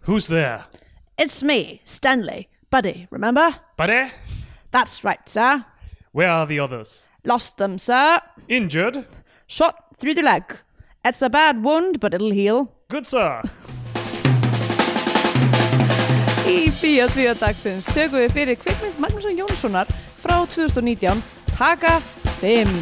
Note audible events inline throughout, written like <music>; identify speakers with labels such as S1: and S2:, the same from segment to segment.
S1: Who's there?
S2: It's me, Stanley. Buddy, remember?
S1: Buddy?
S2: That's right, sir.
S1: Where are the others?
S2: Lost them, sir.
S1: Injured?
S2: Shot through the leg. It's a bad wound, but it'll heal.
S1: Good sir.
S2: Í Bíotvíu dagsins tökum við fyrir kvikmynd Magnússon Jónssonar frá 2019 Taka 5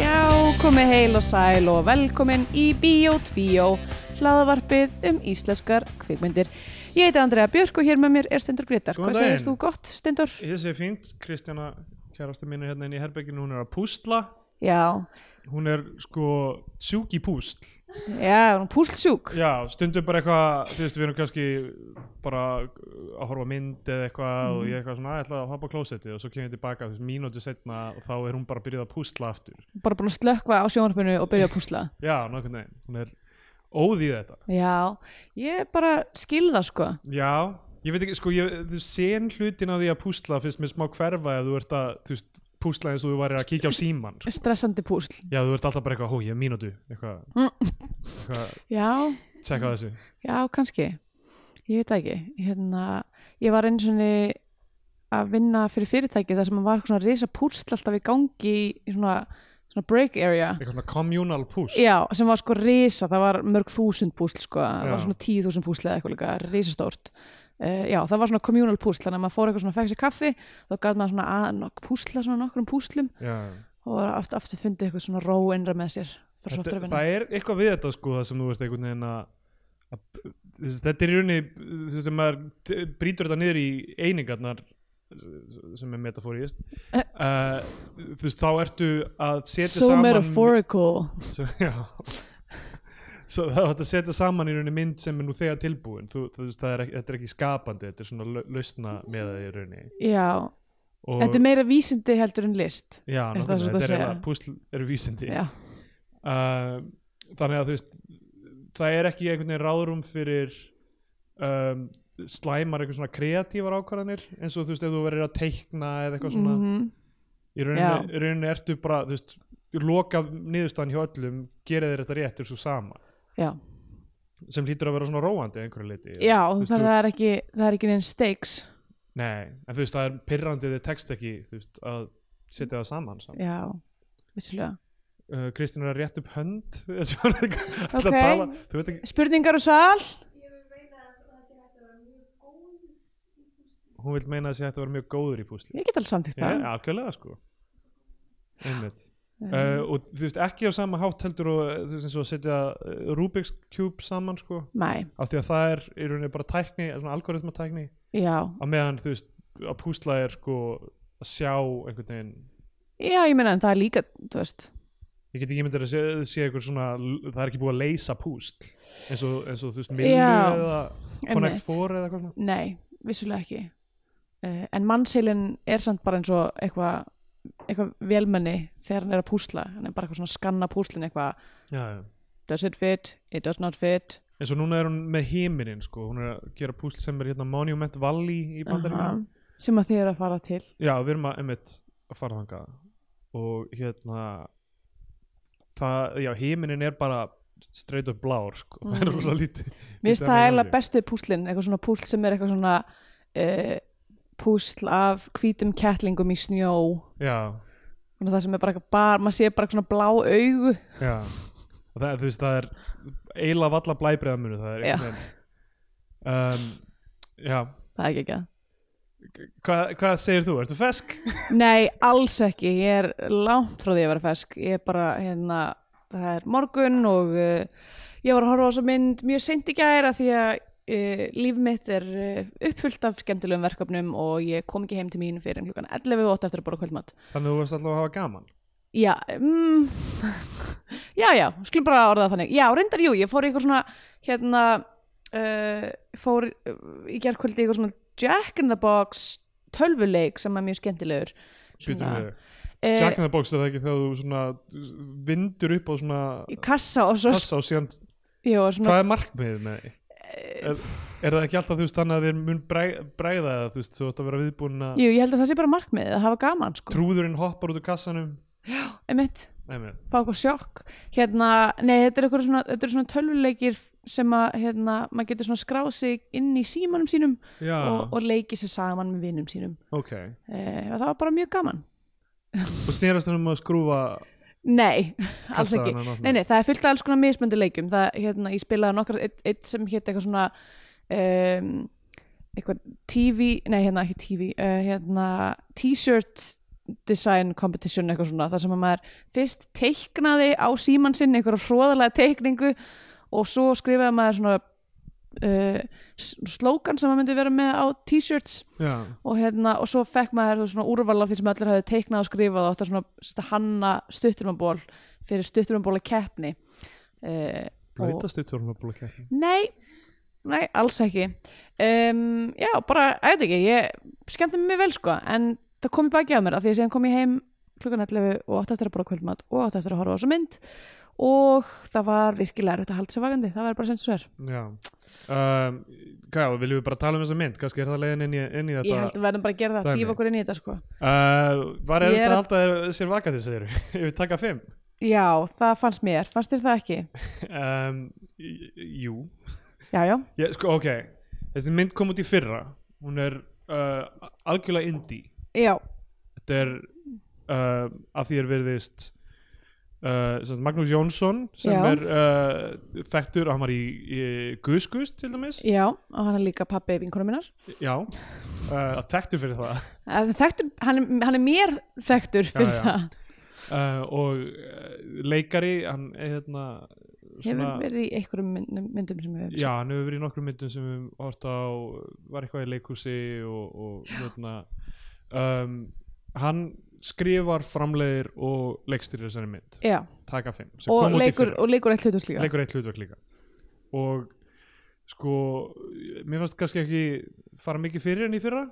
S2: Já, komið heil og sæl og velkomin í Bíotvíu hlaðavarpið um íslenskar kvikmyndir Ég heiti Andrea Björk og hér með mér er Stendur Gretar
S1: Góðan
S2: Hvað segir
S1: daginn.
S2: þú gott, Stendur?
S1: Ég sé fínt, Kristjana kærasta mín er hérna inn í herberginu, hún er að púsla
S2: Já,
S1: hún er sko sjúk í púsl
S2: já, púlsjúk
S1: Já, stundum bara eitthvað, þú veist, við erum kannski bara að horfa á mynd eða eitthvað og ég eitthvað svona, "Æ, ég ætla að hoppa á klósettið og svo kemur ég tilbaka, þú veist, mínútu setna og þá er hún bara að byrjað að púsla aftur
S2: bara búin að slökva á sjónarpinu og byrja að púsla
S1: Já, nokkuð neginn, hún er óð í þetta
S2: Já, ég bara skil það sko
S1: Já, ég veit ekki, sko, ég, þú sen hlutin af því að púsla finnst mér smá hverfa ef þú ert að, þú veist, púsla eins og þú væri að kíkja á síman sko.
S2: stressandi púsl
S1: Já, þú ert alltaf bara eitthvað, hó, ég er mínútu eitthvað, eitthvað,
S2: Já,
S1: tjekka á þessu
S2: já, kannski ég veit það ekki hérna, ég var einu svona að vinna fyrir fyrirtæki þar sem var svona risa púsl alltaf í gangi í svona, svona break area
S1: Eitthvað svona communal púsl
S2: Já, sem var sko risa, það var mörg þúsund púsl sko, það var
S1: Já.
S2: svona tíu þúsund púsl eða eitthvað líka, risastórt uh, Já, það var svona communal púsl, þannig að maður fór eitthvað svona fekk sér kaffi, þá gæti maður svona að nok- púsla svona nokkrum púslum
S1: Já.
S2: og var aftur, aftur fundið eitthvað svona ró innra með sér fyrir svo aftur
S1: þetta,
S2: að vinna
S1: það er eitthvað við þetta sko það sem þú veist einhvern veginn að, að þú veist, þetta er í rauninni þú veist, þegar maður t- brýtur þetta niður í einingarnar s- sem er metaforist
S2: Eh.
S1: uh, þú veist, þá ertu að setja
S2: So
S1: saman
S2: metaphorical
S1: so, já Svo það er hægt að setja saman í rauninni mynd sem er nú þegar tilbúin þú, þú veist, það er, ekki- þetta er ekki skapandi þetta er svona lau- lausna með það í rauninni
S2: Já,
S1: og,
S2: þetta er meira vísindi heldur en list
S1: já,
S2: er það
S1: nákvæmlega,
S2: sem þú
S1: þetta er
S2: segir?
S1: eiginlega- púsl eru vísindi
S2: Já,
S1: uh, þannig að þú veist það er ekki einhvern veginn ráðrum fyrir um, slæmar eitthvað svona kreatívar ákvarðanir eins og þú veist ef þú verður að teikna eða eitthvað svona
S2: Mhm.
S1: í rauninni, í rauninni ertu bara þú veist loka niðurstaðan hjá öllum gera þér þetta rétt er svo sama
S2: já,
S1: sem hlýtur að vera svona róandi að einhverju liti
S2: já
S1: Þú veist, þú-
S2: þannig að það er ekki það er ekki neinn stakes
S1: nei, en þú veist það er pirrandi þið tekst ekki þú veist að setja það saman, saman.
S2: Já, vissulega
S1: Uh, Kristín er að rétt upp hönd <laughs> svona, ætla
S2: Ok.
S1: að tala þú veit ekki,
S2: Spurningar og sal
S1: hún vil meina að þessi hætti að vera mjög góður í púsli
S2: Ég get alveg samþýtt það
S1: Já, algjörlega sko einmitt
S2: Eh.
S1: uh, og þú veist ekki á sama hátt heldur og uh, þú veist eins og að setja uh, Rubik's Cube saman sko
S2: Nei,
S1: af því að það er í rauninni bara tækni svona algoritma tækni
S2: já,
S1: á meðan þú veist að púsla er sko að sjá einhvern veginn
S2: já, ég meina en það er líka, þú veist
S1: ég get ekki myndið að sé, sé einhver svona það er ekki búið að leysa púsl eins og, eins og þú veist Millu
S2: Já,
S1: eða
S2: einmitt.
S1: Connect 4 eða eitthvað svona
S2: Nei, vissulega ekki uh, En mannseilin er samt bara eins og eitthvað eitthvað velmenni þegar hann er að púsla hann er bara eitthvað svona að skanna púslin eitthvað
S1: já, já.
S2: does it fit, it does not fit
S1: eins og núna er hún með heiminin sko hún er að gera púsl sem er hérna Monument Valley í bandaríkjum
S2: Aha. sem að þið eru að fara til
S1: Já, við erum að einmitt að fara þangað og hérna það, já, himinin er bara straight up blár, sko, <laughs> það er rosa lítið
S2: Mm. Mér
S1: lítið
S2: finnst það
S1: annað
S2: eiginlega
S1: í
S2: bestu púslin eitthvað svona púsl sem er eitthvað svona uh, púsl af hvítum kettlingum í snjó
S1: gangi. Já,
S2: Svona það sem er bara eitthvað bar, maður sé bara eitthvað svona blá augu
S1: já og það, þú veist, það er eiginlega valla blæbreiðamunu, það er
S2: Já.
S1: einhvern veginn. um, Já,
S2: það er ekki ekki að
S1: hvað, hvað segir þú, ertu fesk?
S2: Nei, alls ekki, ég er langt frá því að vera fesk, ég er bara hérna, það er morgun og uh, ég var að horfa á þessa mynd mjög seint í gæra því að uh, líf mitt er uh, uppfullt af skemmtilegum verkefnum og ég kom ekki heim til mín fyrir en klukkan 11 og 8 eftir að bora kvöldmatt
S1: Þannig að þú varst alltaf að hafa gaman
S2: Já, mm, <laughs> já, já, skulum bara orða það þannig. Já, reyndar, jú, ég fór í eitthvað svona, hérna, uh, fór uh, í gerkvöldi í eitthvað svona Jack in the Box tölvuleik sem er mjög skemmtilegur.
S1: Býtum við
S2: Eh,
S1: Jack in the Box er það ekki þegar þú svona vindur upp á svona
S2: í kassa og svo
S1: kassa og síðan
S2: ég var svona
S1: Hvað er markmiðið með því? Er, er það ekki alltaf þú veist þannig að þér mun breg- bregða það, þú veist, þú ætti að vera viðbúin að
S2: Jú, ég held að það sé bara markmiðið að hafa gaman sko,
S1: trúðurinn hoppar út úr kassanum
S2: einmitt,
S1: Nei, með,
S2: fá eitthvað sjokk hérna, nei, þetta er eitthvað svona, þetta er svona tölvuleikir sem að, hérna, maður getur svona skráð sig inn í símanum sínum
S1: já,
S2: og, og leikið sér saman með vinum sínum
S1: ok
S2: eh, og það var bara mjög gaman
S1: Og snerast hann um að skrúfa
S2: Nei, alls ekki
S1: kassan hann
S2: Nei, nei, það er fullt af alls konar mismöndi leikjum það, hérna, ég spilaði nokkar, eitt, eitt sem hétt eitthvað svona um, eitthvað TV, nei hérna ekki TV uh, hérna t-shirt design competition eitthvað svona þar sem að maður fyrst teiknaði á síman sinn einhverja hróðalega teikningu og svo skrifaði maður svona uh, slókan sem maður myndi vera með á t-shirts
S1: Já,
S2: og, hérna, og svo fekk maður svona úrval af því sem allir hafði teiknað og skrifað og átti að svona, svona hanna stutturumaból fyrir stutturumaból keppni uh,
S1: blöytast eitt svona blokki
S2: nei, nei, alls ekki um, já, bara, ég veit ekki ég skemmti mig vel sko en það kom í baki á mér af því að síðan kom ég heim klukkan 11 og átti eftir að bara kvöldmat og átti eftir að horfa á þessu mynd og það var virkilega erfitt að halda sér vakandi það var bara sem svo er
S1: Já um, Hvað, viljum við bara tala um þessa mynd? Kannski er það leiðin inn í, inn í þetta
S2: ég held að við verðum bara að gera það,
S1: dæmi.
S2: dýfa okkur inn í þetta sko
S1: uh, Var er
S2: Ég er-
S1: þetta alltaf er, sér vaka þess að eru? <laughs> Ef við taka fimm
S2: já, það fannst mér, fannst þér það ekki
S1: um, í- Jú
S2: já, já,
S1: Ég, sko, ok, þessi mynd kom út í fyrra hún er uh, algjörlega indie
S2: já
S1: þetta er uh, að því er virðist uh, sem sagt Magnús Jónsson sem
S2: Já.
S1: er uh, þekktur, hann var í, í Gus Gus til dæmis
S2: Já, og hann er líka pappi vinkonu minnar.
S1: já, uh, þekktur fyrir það
S2: Eh, Þekktur, hann, er- hann er mér þekktur fyrir
S1: já.
S2: það.
S1: uh, og uh, leikari hann er hérna
S2: Hefur
S1: svona,
S2: verið í einhverjum myndum, myndum sem við höfum.
S1: já, hann hefur verið í nokkrum myndum sem við horta á var eitthvað í leikhúsi og, og hérna um, hann skrifar framleiðir og leikstýrir þessari mynd
S2: Já,
S1: taka fimm sem
S2: og
S1: kom út í
S2: leikur,
S1: fyrra.
S2: og leikur eitt hlutur líka.
S1: leikur eitt hlutverk líka og sko mér fannst kannski ekki fara mikið fyrir henni í fyrra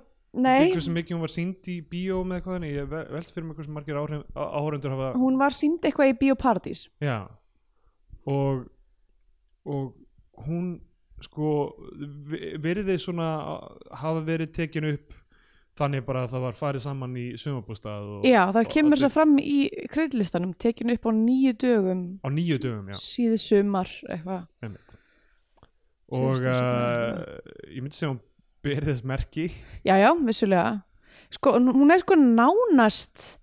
S2: Nei,
S1: ekki hversu mikið hún var sínd í bíó með eitthvað þannig ég ve- velti fyrir mig hversu margir áhrif- á- áhorfendur hafa
S2: hún var sínd eitthvað í Bíóparadís.
S1: já og og hún sko vi- virði svona hafa verið tekin upp þannig bara að það var farið saman í sumabústað og
S2: Já, það
S1: og
S2: kemur
S1: allir-
S2: þess að fram í kreidlistanum, tekin upp á nýju dögum
S1: á nýju dögum já
S2: síðu sumar eitthvað.
S1: einmitt. og
S2: Síðustu
S1: uh,
S2: sumar,
S1: ég myndi segja hún berið þess merki
S2: Já, já, vissulega. Sko, hún- hún er sko nánast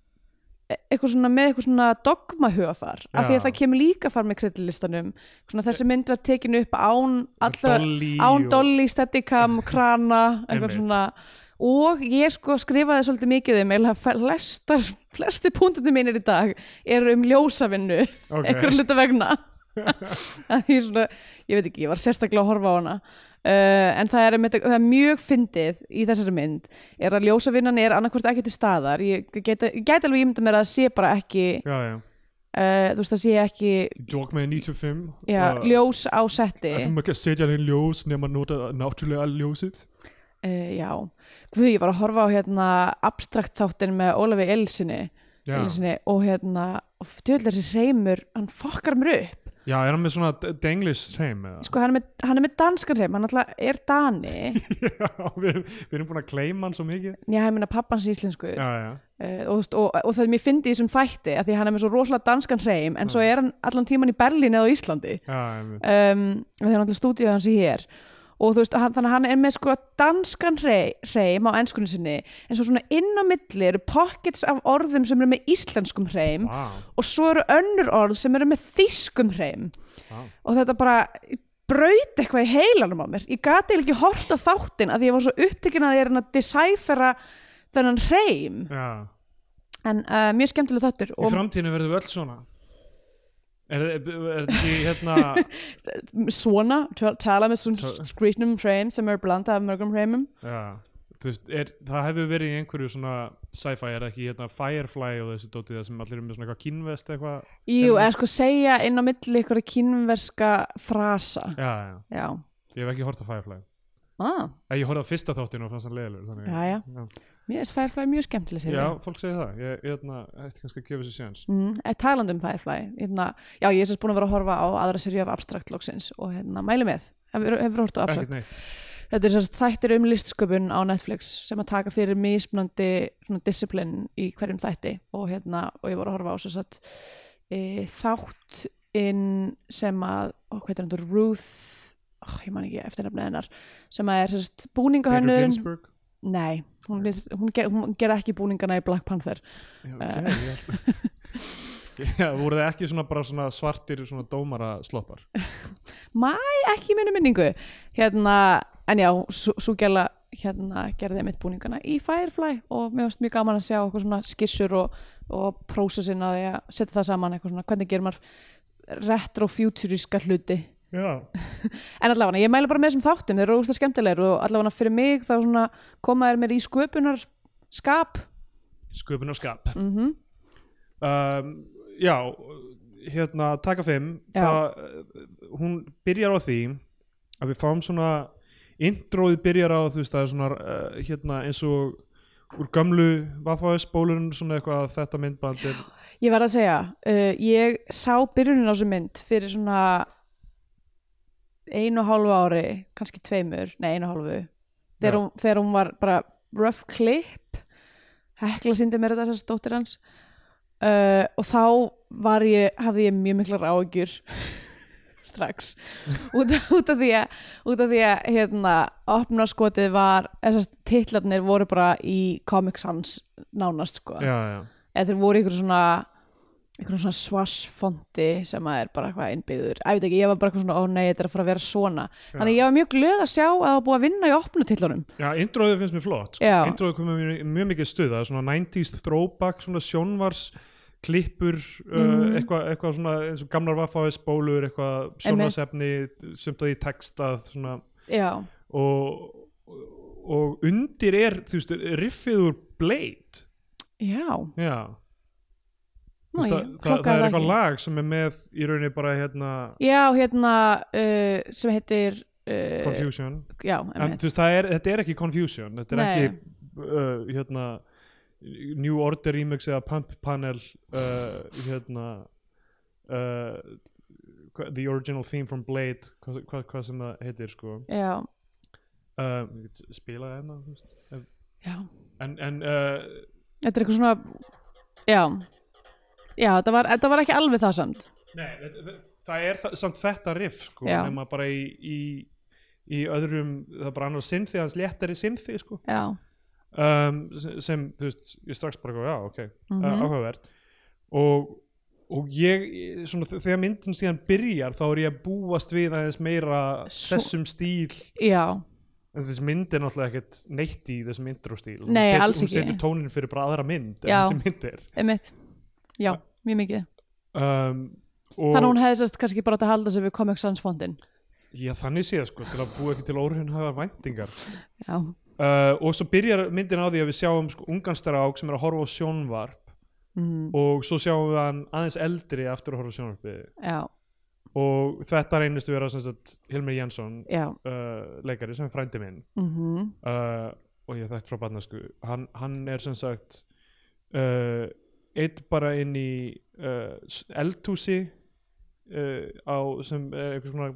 S2: e- eitthvað svona með eitthvað svona dogmahöfar af
S1: Já.
S2: því að
S1: Eh,
S2: það kemur líka fram í kreidlistanum svona þessi mynd var tekin upp án allra,
S1: Dolly
S2: án
S1: og- <laughs>
S2: dolli, steadicam, krana
S1: Einmitt.
S2: eitthvað svona og ég sko skrifaði svolítið mikið um eða flestar, flesti púntandi mínir í dag eru um ljósavinnu
S1: Ok.
S2: einhver hluta vegna
S1: <laughs>
S2: Að því svona, ég veit ekki, ég var sérstaklega að horfa á hana uh, en það er, einmitt- það er mjög fyndið í þessari mynd er að ljósavinnan er annarkvort ekki til staðar ég gæti gæti alveg ímynda mér að það sé bara ekki
S1: já, já.
S2: uh, þú veist það sé ekki
S1: Dog með 95
S2: já, ljós á setti
S1: Ætlum ekki að setja hann í ljós nema að nota náttúrulega ljósið
S2: Uh, já, guð, ég var að horfa á hérna abstrakt þáttin með Ólafi Elsinni,
S1: Já.
S2: Elsinni og hérna, og djöðlega þessi reymur hann fokkar mér upp,
S1: Já, er hann með svona d- denglis hreim eða?
S2: sko hann er með, hann er með danskan reym, hann alltaf er dani já,
S1: Já, við erum, við erum búin að kleima hann svo mikið
S2: ég meina pappans íslensku
S1: Já,
S2: uh,
S1: já,
S2: og, þú veist, og, og það er mér fyndið í þessum þætti að því hann er með svo rosalega danskan reym en svo er hann allan tíman í Berlín eða á Íslandi
S1: já, einmitt.
S2: um, af því að náttúrulega stúdíu hans er hér og þú veist, hann, þannig að hann er með sko danskan rey- reym á enskunni sinni en svo svona inn á milli eru pockets af orðum sem eru með íslenskum reym
S1: Vá,
S2: og svo eru önnur orð sem eru með þýskum reym
S1: vá
S2: og þetta bara braut eitthvað í heilanum á mér ég gati ekki hort á þáttin að ég var svo upptekin að ég er að decifera þennan reym
S1: Já,
S2: en uh, mjög skemmtileg þáttur
S1: í
S2: og
S1: framtíðinu verðum við öll svona Er þetta er þetta ekki hérna
S2: svona, tala- tala með svona
S1: Tala.
S2: skrýtnum reym sem eru blanda af mörgum reymum
S1: Já, þú veist, er, það hefur verið í einhverju svona sci-fi, er það ekki hérna Firefly og þessi dótið það sem allir eru með svona eitthvað kínvest eitthvað
S2: Jú, eða sko segja inn á milli ykkur kínverska frasa
S1: Já, já,
S2: Já,
S1: ég hef ekki hort á Firefly
S2: ah,
S1: Æ, Ég horfði á fyrsta þáttin og fannst hann leiðilegur þannig-
S2: Jæja. Mér finnst Firefly mjög skemmtileg sér
S1: Já, fólk segir það, ég, ég hérna, ætti kannski að gefa sér séns
S2: mm, eh, Taland um Firefly hérna, Já, ég er sérst búin að vera að horfa á aðra serið af Abstract loksins og hérna, mæli með Hefur, hefur hort á Abstract
S1: Ekkert neitt
S2: Þetta er sérst þættir um listsköpun á Netflix sem að taka fyrir mismunandi svona disciplin í hverjum þætti og hérna, og ég var að horfa á sérst e, þátt inn sem að, ó, hvað er hann, Ruth ó, ég man ekki eftir nefnið hennar sem að er sérst
S1: Andrew
S2: búningahönnurinn
S1: Ginsberg
S2: Nei, hún, lit- hún, ger, hún ger ekki búningana í Black Panther
S1: Já, ok, ég held <laughs> Já, voru það ekki svona bara svona svartir svona dómara sloppar
S2: Mæ, ekki í minni minningu hérna, en já, svo svo gæla hérna gerði mitt búningana í Firefly og mér varst mjög gaman að sjá eitthvað svona skissur og, og prósessin að ég setja það saman eitthvað svona, hvernig gerir maður retrofuturíska hluti
S1: Já,
S2: en allavega, ég mæli bara með þessum þáttum þeir eru úrst að skemmtilegur og allavega fyrir mig þá svona koma þær mér í sköpunar skap
S1: sköpun og skap
S2: Mhm.
S1: um, Já, hérna taka fimm
S2: Já.
S1: Það, uh, hún byrjar á því að við fáum svona introið byrjar á þú veist það er svona uh, hérna eins og úr gamlu vaffáðis bólurinn svona eitthvað að þetta myndband er
S2: Ég verð að segja, uh, ég sá byrjunin á þessu mynd fyrir svona einu og hálfu ári, kannski tveimur, nei einu og hálfu, þegar,
S1: Já.
S2: hún, þegar hún var bara rough clip, hekla síndi mér þetta þessar stóttir hans uh, og þá var ég, hafði ég mjög miklar áhugjur <laughs> strax út, út af því að, út af því að hérna, opnarskotið var, þessast titlarnir voru bara í Comic Sans nánast sko
S1: Já, já,
S2: eða þeir voru ykkur svona ykkur svona svassfondi sem að er bara eitthvað innbyggður ég veit ekki, ég var bara eitthvað svona, ó nei, þetta er að fara að vera svona þannig að ég var mjög glöð að sjá að það var búið að vinna í opnutillunum
S1: já introið finnst mér flott sko.
S2: Já.
S1: Introið komið mjög, mjög mikið stuð það er svona 90s throwback svona sjónvars klippur, uh,
S2: Mhm.
S1: eitthvað, eitthvað svona eins og gamlar vaffáðis bólur eitthvað
S2: Einmitt.
S1: sjónvarsefni, sumt að því textað svona
S2: já,
S1: og, og undir er þú veist, riffið úr Blade
S2: já,
S1: já Þú
S2: Nú,
S1: veist,
S2: ég
S1: það, það, það
S2: klokkaði
S1: er
S2: það
S1: eitthvað
S2: ekki.
S1: lag sem er með í rauninni bara hérna
S2: já, hérna uh, sem heitir uh,
S1: Confusion
S2: já,
S1: en
S2: emmitt
S1: þú veist, það er, þetta er ekki Confusion þetta er
S2: Nei.
S1: ekki uh, hérna New Order remix eða Pump Panel uh, hérna uh, hva- The Original Theme from Blade hvað hva, hva sem það heitir sko
S2: já,
S1: uh, spila það hérna þú veist.
S2: já,
S1: en, en uh,
S2: þetta er eitthvað svona já, já, þetta var, þetta var ekki alveg það samt
S1: Nei, þetta- þa- það er þa- samt þetta riff sko,
S2: Já.
S1: nema bara í, í, í öðrum, það er bara annar sinnþið hans léttari sinnþið sko
S2: já,
S1: um, sem, sem, þú veist, ég strax bara góð, já, ok, mm
S2: Mhm.
S1: áhugavert og, og ég svona, þ- þegar myndin síðan byrjar þá er ég að búast við aðeins meira
S2: Svo-
S1: þessum stíl
S2: já,
S1: en þessi mynd er náttúrulega ekkert neitt í þessum intro stíl
S2: Nei,
S1: hún,
S2: alls
S1: hún
S2: ekki.
S1: setur tónin fyrir bara aðra mynd en
S2: Já.
S1: þessi mynd er
S2: emmitt já, mjög mikið
S1: um, og,
S2: þannig að hún hefði sérst kannski bara átt að halda sig við Comic Sans fondin
S1: já, þannig séð sko, til að búa ekki til órhunhafa væntingar
S2: já,
S1: uh, og svo byrjar myndin á því að við sjáum sko, unganstara ák sem er að horfa á sjónvarp
S2: mm,
S1: og svo sjáum við hann aðeins eldri aftur að horfa á sjónvarpi
S2: já
S1: og þetta reynist að vera sem sagt, Hilmir Jensson
S2: já,
S1: uh, leikari sem er frændi minn
S2: mhm,
S1: uh, og ég hef þekkt frá barnasku hann, hann er sem sagt uh, eitt bara inn í uh, s- eldhúsi uh, á sem er einhvers konar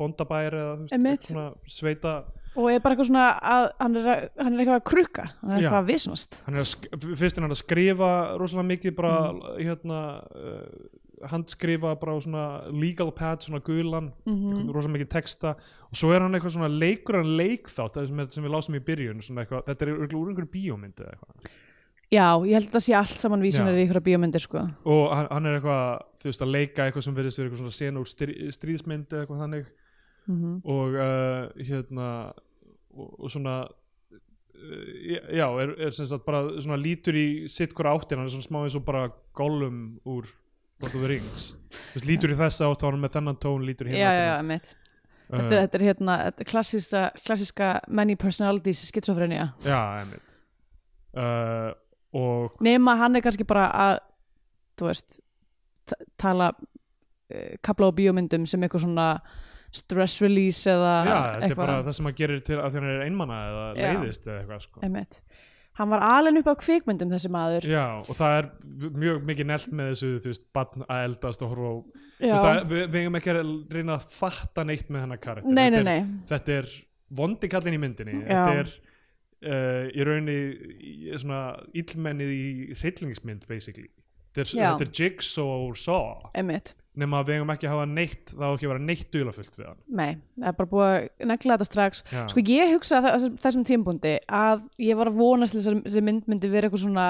S1: bóndabæri eða þú veist,
S2: Einmitt.
S1: einhvers konar sveita
S2: og er bara eitthvað svona að hann er, að- hann er eitthvað að krukka hann er
S1: Já.
S2: eitthvað að visnast
S1: hann er að sk- f- fyrst er hann að skrifa rosalega mikið bara hérna uh, handskrifa bara á svona legal pad, svona gulan
S2: Mhm.
S1: rosalega mikið texta og svo er hann eitthvað svona leikur hann leikþátt það sem, er- sem við lásum í byrjun svona eitthvað, þetta er örugglega úr einhverjum bíómynd eða eitthvað
S2: já, ég held að það sé allt saman vísunar
S1: Já.
S2: í ykkur bíómyndir sko
S1: og hann, hann er eitthvað, þú veist, að leika eitthvað sem verðist verið eitthvað svona sena úr strí, stríðsmynd eða eitthvað þannig
S2: Mhm.
S1: og uh, hérna og, og svona uh, já, er, er sem sagt bara svona lítur í sitt hvora áttin hann er svona smá eins og bara gollum úr Lord of the Rings Þú veist, lítur í þessa átt, þá er hann með þennan tón lítur í
S2: já,
S1: hérna
S2: já, já,
S1: áttina.
S2: mitt
S1: Uh,
S2: þetta, þetta er hérna, þetta er klassíska, klassíska many personalities skitsofrenia
S1: já, einmitt uh, og
S2: nema hann er kannski bara að þú veist, t- tala uh, kapla á bíómyndum sem eitthvað svona stress release eða
S1: já, þetta er bara það sem hann gerir til að því hann er einmana eða
S2: Já.
S1: leiðist eða eitthvað sko
S2: Einmitt. hann var alveg upp á kvikmyndum þessi maður
S1: já, og það er mjög mikið nelt með þessu, þú veist, barn að eldast og horfa á, þú
S2: Já.
S1: veist, það, við, við eigum ekki að reyna að fatta neitt með hennar karakter
S2: nei, nei,
S1: Þetta er-
S2: nei,
S1: þetta er vondi kallinn í myndinni
S2: Já.
S1: þetta er uh, í rauninni í- svona illmennið í hryllingsmynd basically þetta er,
S2: Já.
S1: þetta er Jigsaw og Saw
S2: einmitt
S1: nema að við eigum ekki að hafa neitt það á ekki að vera neitt duðlafullt við hann
S2: Nei, það er bara búið að negla þetta strax
S1: Já.
S2: Sko ég hugsa að þessum, þessum tímpúndi að ég var að vonast til þess að þessi mynd myndi vera eitthvað svona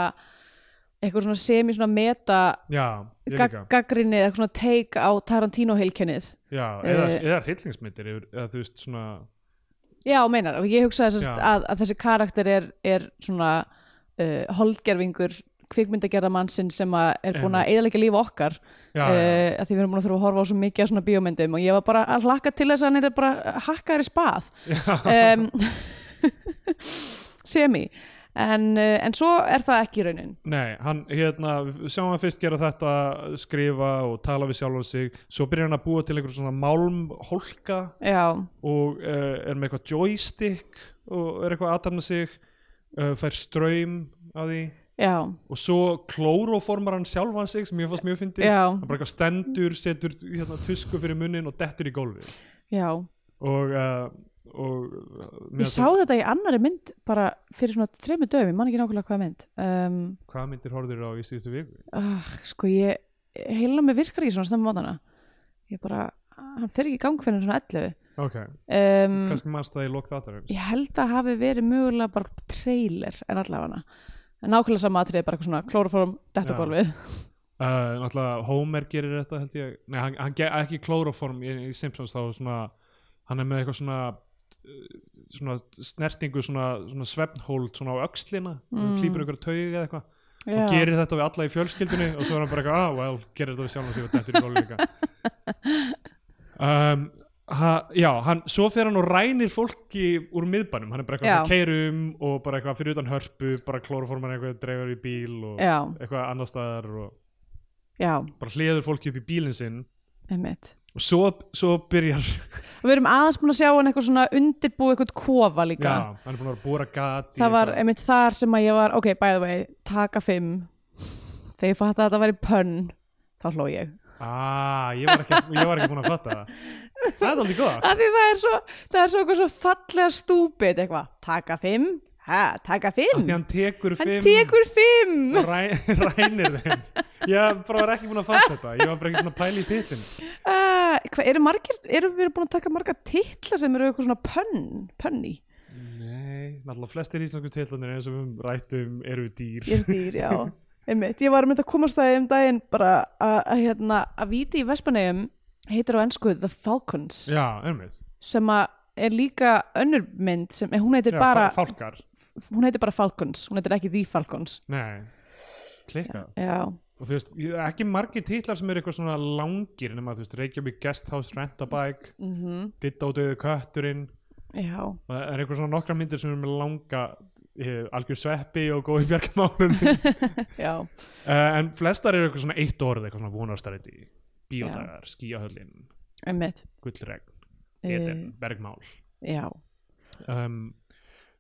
S2: eitthvað svona semi svona meta
S1: já, ég
S2: gag,
S1: líka
S2: gaggrinni eða eitthvað svona take á Tarantino heilkennið
S1: já, eða,
S2: Eh.
S1: eða hryllingsmyndir yfir- eða þú veist svona
S2: Já, meinar, og ég hugsa þess
S1: Já.
S2: að, að þessi karakter er, er svona uh, holdgerfingur kvikmyndagerða mannsinn sem að er búin að eðalega lífa okkar
S1: já,
S2: uh,
S1: já,
S2: að því við erum búin að þurfa að horfa á svo mikið á svona bíómyndum og ég var bara að hlakka til þess að hann er bara hakkaður í spað um, <laughs> semi en, uh, en svo er það ekki raunin
S1: nei, hann hérna við sjáum hann fyrst gera þetta, skrifa og tala við sjálfan sig, svo byrjar hann að búa til einhver svona málmhólka
S2: já,
S1: og uh, er með eitthvað joystick og er eitthvað að aðtapna sig uh, fær ströym af því
S2: já,
S1: og svo klóróformar hann sjálfan sig sem ég fannst mjög fyndi
S2: Já.
S1: hann bara eitthvað stendur, setur hérna, tusku fyrir munnin og dettur í gólfi
S2: já
S1: og, uh, og uh,
S2: ég sá þetta í annari mynd bara fyrir svona þremur döfum, ég man ekki nákvæmlega hvaða mynd um,
S1: hvað myndir horfður á í síðustu viku
S2: ah, sko ég heila mig virkar ekki svona snemma mótana ég bara, hann fer ekki í gang fyrir svona 11
S1: ok,
S2: um,
S1: kannski mannst það í lok þáttarins
S2: ég held að hafi verið mögulega bara trailer en allavega hana nákvæmlega sama atrið, bara eitthvað svona klóraform
S1: Já.
S2: dettagólfið,
S1: uh, náttúrulega Homer gerir þetta held ég nei, hann, hann ger ekki klóróform í, í Simpsons þá svona, hann er með eitthvað svona uh, svona snertingu svona, svona svefnhóld svona á öxlina mm. hann klýpur ykkur taug eða eitthvað
S2: Já.
S1: og gerir þetta við alla í fjölskyldunni og svo er hann bara eitthvað, ah, well, gerir þetta við sjálfum sig og dættur í gólu líka
S2: <laughs>
S1: um, ha, já, hann, svo fer hann og rænir fólki úr miðbænum, hann er bara
S2: Já.
S1: eitthvað keirum og bara eitthvað fyrir utan hörpu bara klóróforman eitthvað, dreifur í bíl og
S2: já,
S1: eitthvað annar staðar og
S2: já,
S1: bara hliður fólki upp í bílinn sinn
S2: einmitt
S1: og svo, svo
S2: <laughs>
S1: byrjar
S2: Og Við erum aðeins búin að sjá hann eitthvað svona undirbúið eitthvað kofa
S1: já,
S2: líka.
S1: hann er búin að vera að bóra gat í
S2: það var
S1: eitthvað-
S2: einmitt þar sem að ég var, ok, by the way, taka fimm. Þegar ég fatt að þetta væri pönn, þá hló ég.
S1: ah, ég, var ekki, ég var ekki búin að fatta það það er aldrei góð
S2: Af því það er svo, það er svo eitthvað svo fallega stúpid eitthvað. Taka fimm? Hæ, taka
S1: því
S2: fimm?
S1: hann tekur
S2: Hann
S1: fimm
S2: tekur fimm!
S1: ræ, <laughs> rænir þeim ég bara var ekki búin að fatta þetta ég var bara ekki búin að pæla í titlinn
S2: Uh, hvað, eru margir, eru við búin að taka marga titla sem eru eitthvað svona pönn, pönni?
S1: nei, náttúrulega flestir íslensku titlanir eins og við rættum eru dýr
S2: Ég er dýr, já Einmitt, ég var að mynda að komast það um daginn bara að, að hérna, að víti í Vespanegum heitir á ennsku The Falcons
S1: já, einmitt
S2: sem að er líka önnur mynd sem, en hún heitir
S1: já,
S2: bara
S1: fá- fálkar,
S2: hún heitir bara Falcons, hún heitir ekki The Falcons
S1: nei klikka
S2: Já,
S1: og þú veist, ég- ekki margir titlar sem eru eitthvað svona langir nema þú veist, Reykjavík Guesthouse Rentabike mm
S2: Mhm.
S1: -hmm. Ditto döðu kötturinn
S2: já,
S1: og það er eitthvað svona nokkra myndir sem eru með langa eh, algjör sveppi og góði bjargamálum
S2: <laughs> já
S1: uh, en flestar eru eitthvað svona eitt orð eitthvað svona vonastaræti, bíódagar, skíahöllin
S2: einmitt
S1: gullregn,
S2: Eh.
S1: eten, bergmál
S2: Já.
S1: um,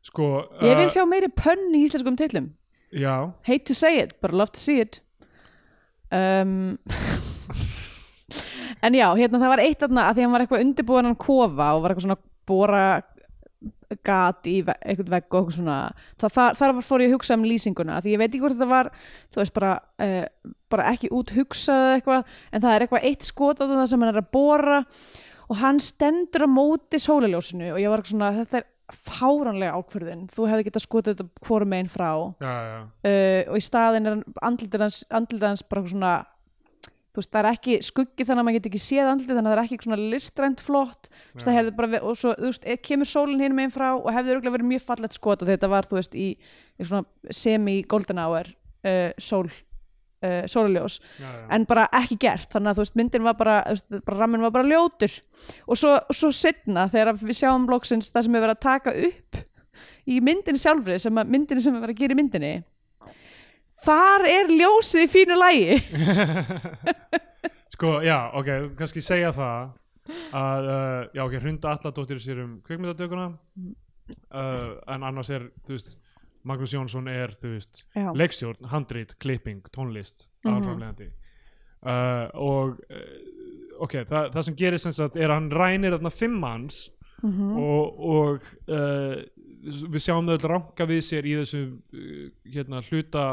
S1: sko
S2: Ég vil sjá meiri pönn í íslenskum titlum
S1: já,
S2: Hate to say it, but love to see it um, En já, hérna það var eitt þarna að því hann var eitthvað undirbúin hann kofa og var eitthvað svona bóra gat í ve eitthvað vegg og eitthvað svona það, það, þar var fór ég að hugsa um lýsinguna af því ég veit ekki hvort þetta var þú veist bara, uh, bara ekki út hugsað eða eitthvað en það er eitthvað eitt skot á það sem hann er að bóra og hann stendur á móti sólaljósinu og ég var eitthvað svona þetta er fáránlega ákvörðin þú hefði getað skotið þetta hvorum einn frá
S1: já, já
S2: uh, og í staðin er andlitið hans, andlitið hans bara eitthvað svona þú veist, það er ekki skuggi þannig að maður get ekki séð andlitið þannig að það er ekki eitthvað svona listrænt flott þú veist, það hefði bara verið, og svo, þú veist, eh, kemur sólin hinn meginn frá og hefði örgulega verið mjög fallegt skot og þetta var, þú veist, í, í svona semi-golden hour uh, sól uh, sóluljós
S1: Já, já.
S2: en bara ekki gert þannig að þú veist myndin var bara, þú veist, bara rammin var bara ljótur og svo, svo setna þegar við sjáum loksins það sem er verið að taka upp í myndin sjálfri sem að myndin sem er verið að gera í myndinni þar er ljósið í fínu lægi
S1: Sko, já, ok, kannski segja það að, uh, já, ok, hrunda alladóttir sér um kvikmyndadökuna uh, en annars er, þú veist Magnús Jónsson er, þú veist
S2: já,
S1: leikstjórn, handrit, klipping, tónlist
S2: Mhm.
S1: aðalframlegandi uh, og uh, ok, þa það sem gerir sem sagt er að hann rænir þarna fimm hans
S2: mhm,
S1: og, og uh, við sjáum þau öll ranka við sér í þessu uh, hérna, hluta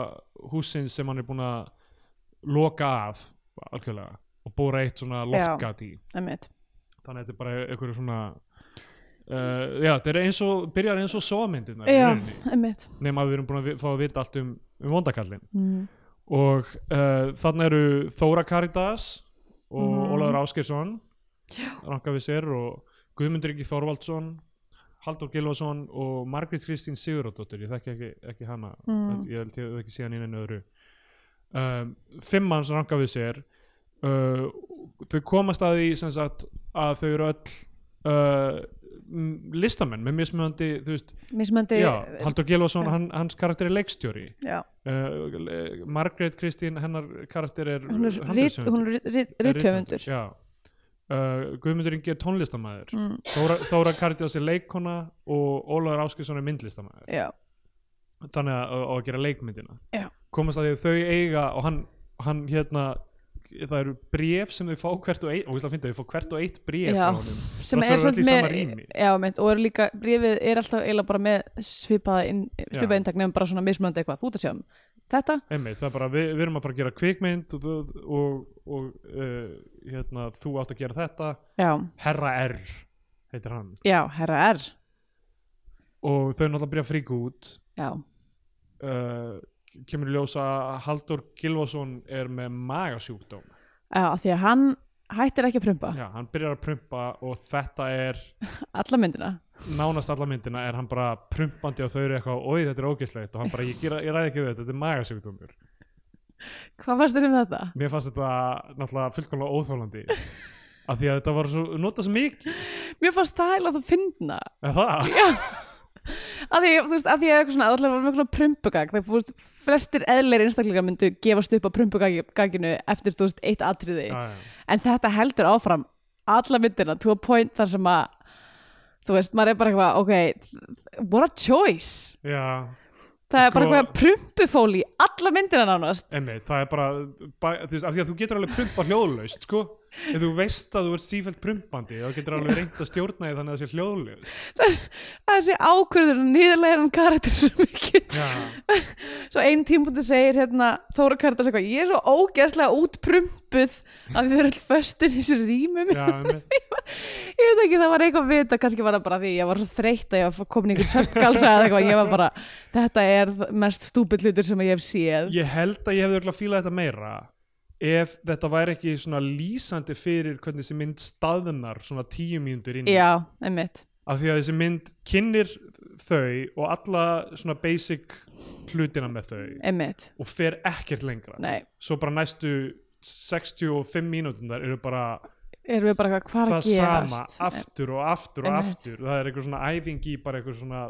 S1: húsin sem hann er búinn að loka af algjörlega og bóra eitt svona loftgat í
S2: einmitt.
S1: þannig að þetta er bara einhverju svona uh, já, þetta er eins og byrjar eins og sóamyndirnar í
S2: Já,
S1: rauninni,
S2: einmitt.
S1: nema að við erum búin að vi- fá að vita allt um, um vondakallin
S2: Mhm.
S1: og uh, þarna eru Þóra Karitas og
S2: Mhm.
S1: Ólafur Áskeirsson ranka við sér og Guðmundur Ingi Þorvaldsson Haldur Gilvason og Margrét Kristín Sigurðardóttir ég þekki ekki, ekki hana
S2: Mm.
S1: ég held ég hef ekki síðan einu öðru um, fimm hans ranka við sér uh, þau komast að því sem sagt að þau eru öll uh, m- listamenn með mismunandi þú veist,
S2: Mismöndi
S1: já, Haldur Gilvason,
S2: Já.
S1: hann, hans karakter er leikstjóri
S2: já,
S1: uh, le- Margrét Kristín hennar karakter er
S2: hún er rit-
S1: handritshöfundur.
S2: hún er rit-
S1: Er
S2: rithöfundur
S1: já uh, Guðmundur Ingi er tónlistamæður
S2: Mm,
S1: Þóra, Þóra Karitas er leikona og Ólaður Áskilsson er myndlistamæður
S2: já,
S1: þannig að, að, að gera leikmyndina
S2: Já.
S1: komast að því að þau eiga og hann, hann hérna það eru bréf sem þau fá hvert og eitt og það finnst þau fá hvert og eitt bréf
S2: Já.
S1: frá honum
S2: sem
S1: Þrátt
S2: er
S1: fyrir að vera
S2: samt
S1: öll í sama
S2: með
S1: rými.
S2: já, mynd, og er líka, brífið er alltaf eiginlega bara með svipaða inn, svipað
S1: Já.
S2: inntak nefnum bara svona mismöndi eitthvað, þú ert að sjá um þetta
S1: Einmitt, það er bara, við, við erum að fara að gera kvikmynd og, þú- og, og uh, hérna, þú átt að gera þetta
S2: já,
S1: Herra R heitir hann
S2: já, herra er
S1: og þau náttúrulega byrja að fríka út
S2: já,
S1: uh, kemur í ljós að Haldur Gilvason er með magasjúkdóm
S2: já, af því að hann hættir ekki að prumpa
S1: já, hann byrjar að prumpa og þetta er
S2: alla myndina
S1: nánast alla myndina er hann bara prumpandi og þau eru eitthvað, oi þetta er ógeðslegt og hann bara, ég, gera, ég ræði ekki við þetta, þetta er magasjúkdómur
S2: hvað varst þér um þetta?
S1: mér fannst þetta náttúrulega fullkomlega óþólandi af því að þetta var svo, nota svo mikið
S2: mér fannst það eiginlega að finna
S1: eða það,
S2: að því, þú veist, að því að eitthvað svona að allir var með svona prumpugag þegar, þú veist, flestir eðlir einstaklingar myndu gefast upp á prumpugaginu eftir, þú veist, eitt atriði
S1: já, já,
S2: en þetta heldur áfram alla myndina to a point þar sem að þú veist, maður er bara eitthvað, ok what a choice
S1: já.
S2: það er bara
S1: Sko-
S2: eitthvað prumpufól í alla myndina nánast
S1: Einmitt, það er bara, bæ, þú veist, af því að þú getur alveg prumpa hljóðlaust, sko ef þú veist að þú ert sífælt prumpandi þá getur alveg reynd að stjórna því þannig að það sé hljóðlaust
S2: þessi ákvörður og nýðarlegar hann karakter svo mikið
S1: Já,
S2: svo einn tímpunkti segir hérna Þóra Kardas eitthvað, ég er svo ógeðslega útprumpuð að þið eru alltaf föstin í þessu rýmum
S1: já, einmitt,
S2: ég veit ekki, það var eitthvað við þetta kannski var það bara því, ég var svo þreytt að ég var komin í einhvern sökkálsa eða eitthvað, ég var bara þetta er mest stúpill hlutur sem ég hef séð
S1: ég held að ég hefði örugglega fílað þetta meira ef þetta væri ekki svona lýsandi fyrir hvernig þessi mynd staðnar svona tíu mínútur inn í.
S2: já, einmitt
S1: af því að þessi mynd kynnir þau og alla svona basic hlutina með þau
S2: Einmitt,
S1: og fer ekkert lengra
S2: nei,
S1: svo bara næstu 65 mínútundar eru bara
S2: erum við bara eitthvað hvað er
S1: það
S2: að gerast
S1: sama aftur og aftur og
S2: Einmitt.
S1: aftur það er eitthvað svona æfing í bara eitthvað svona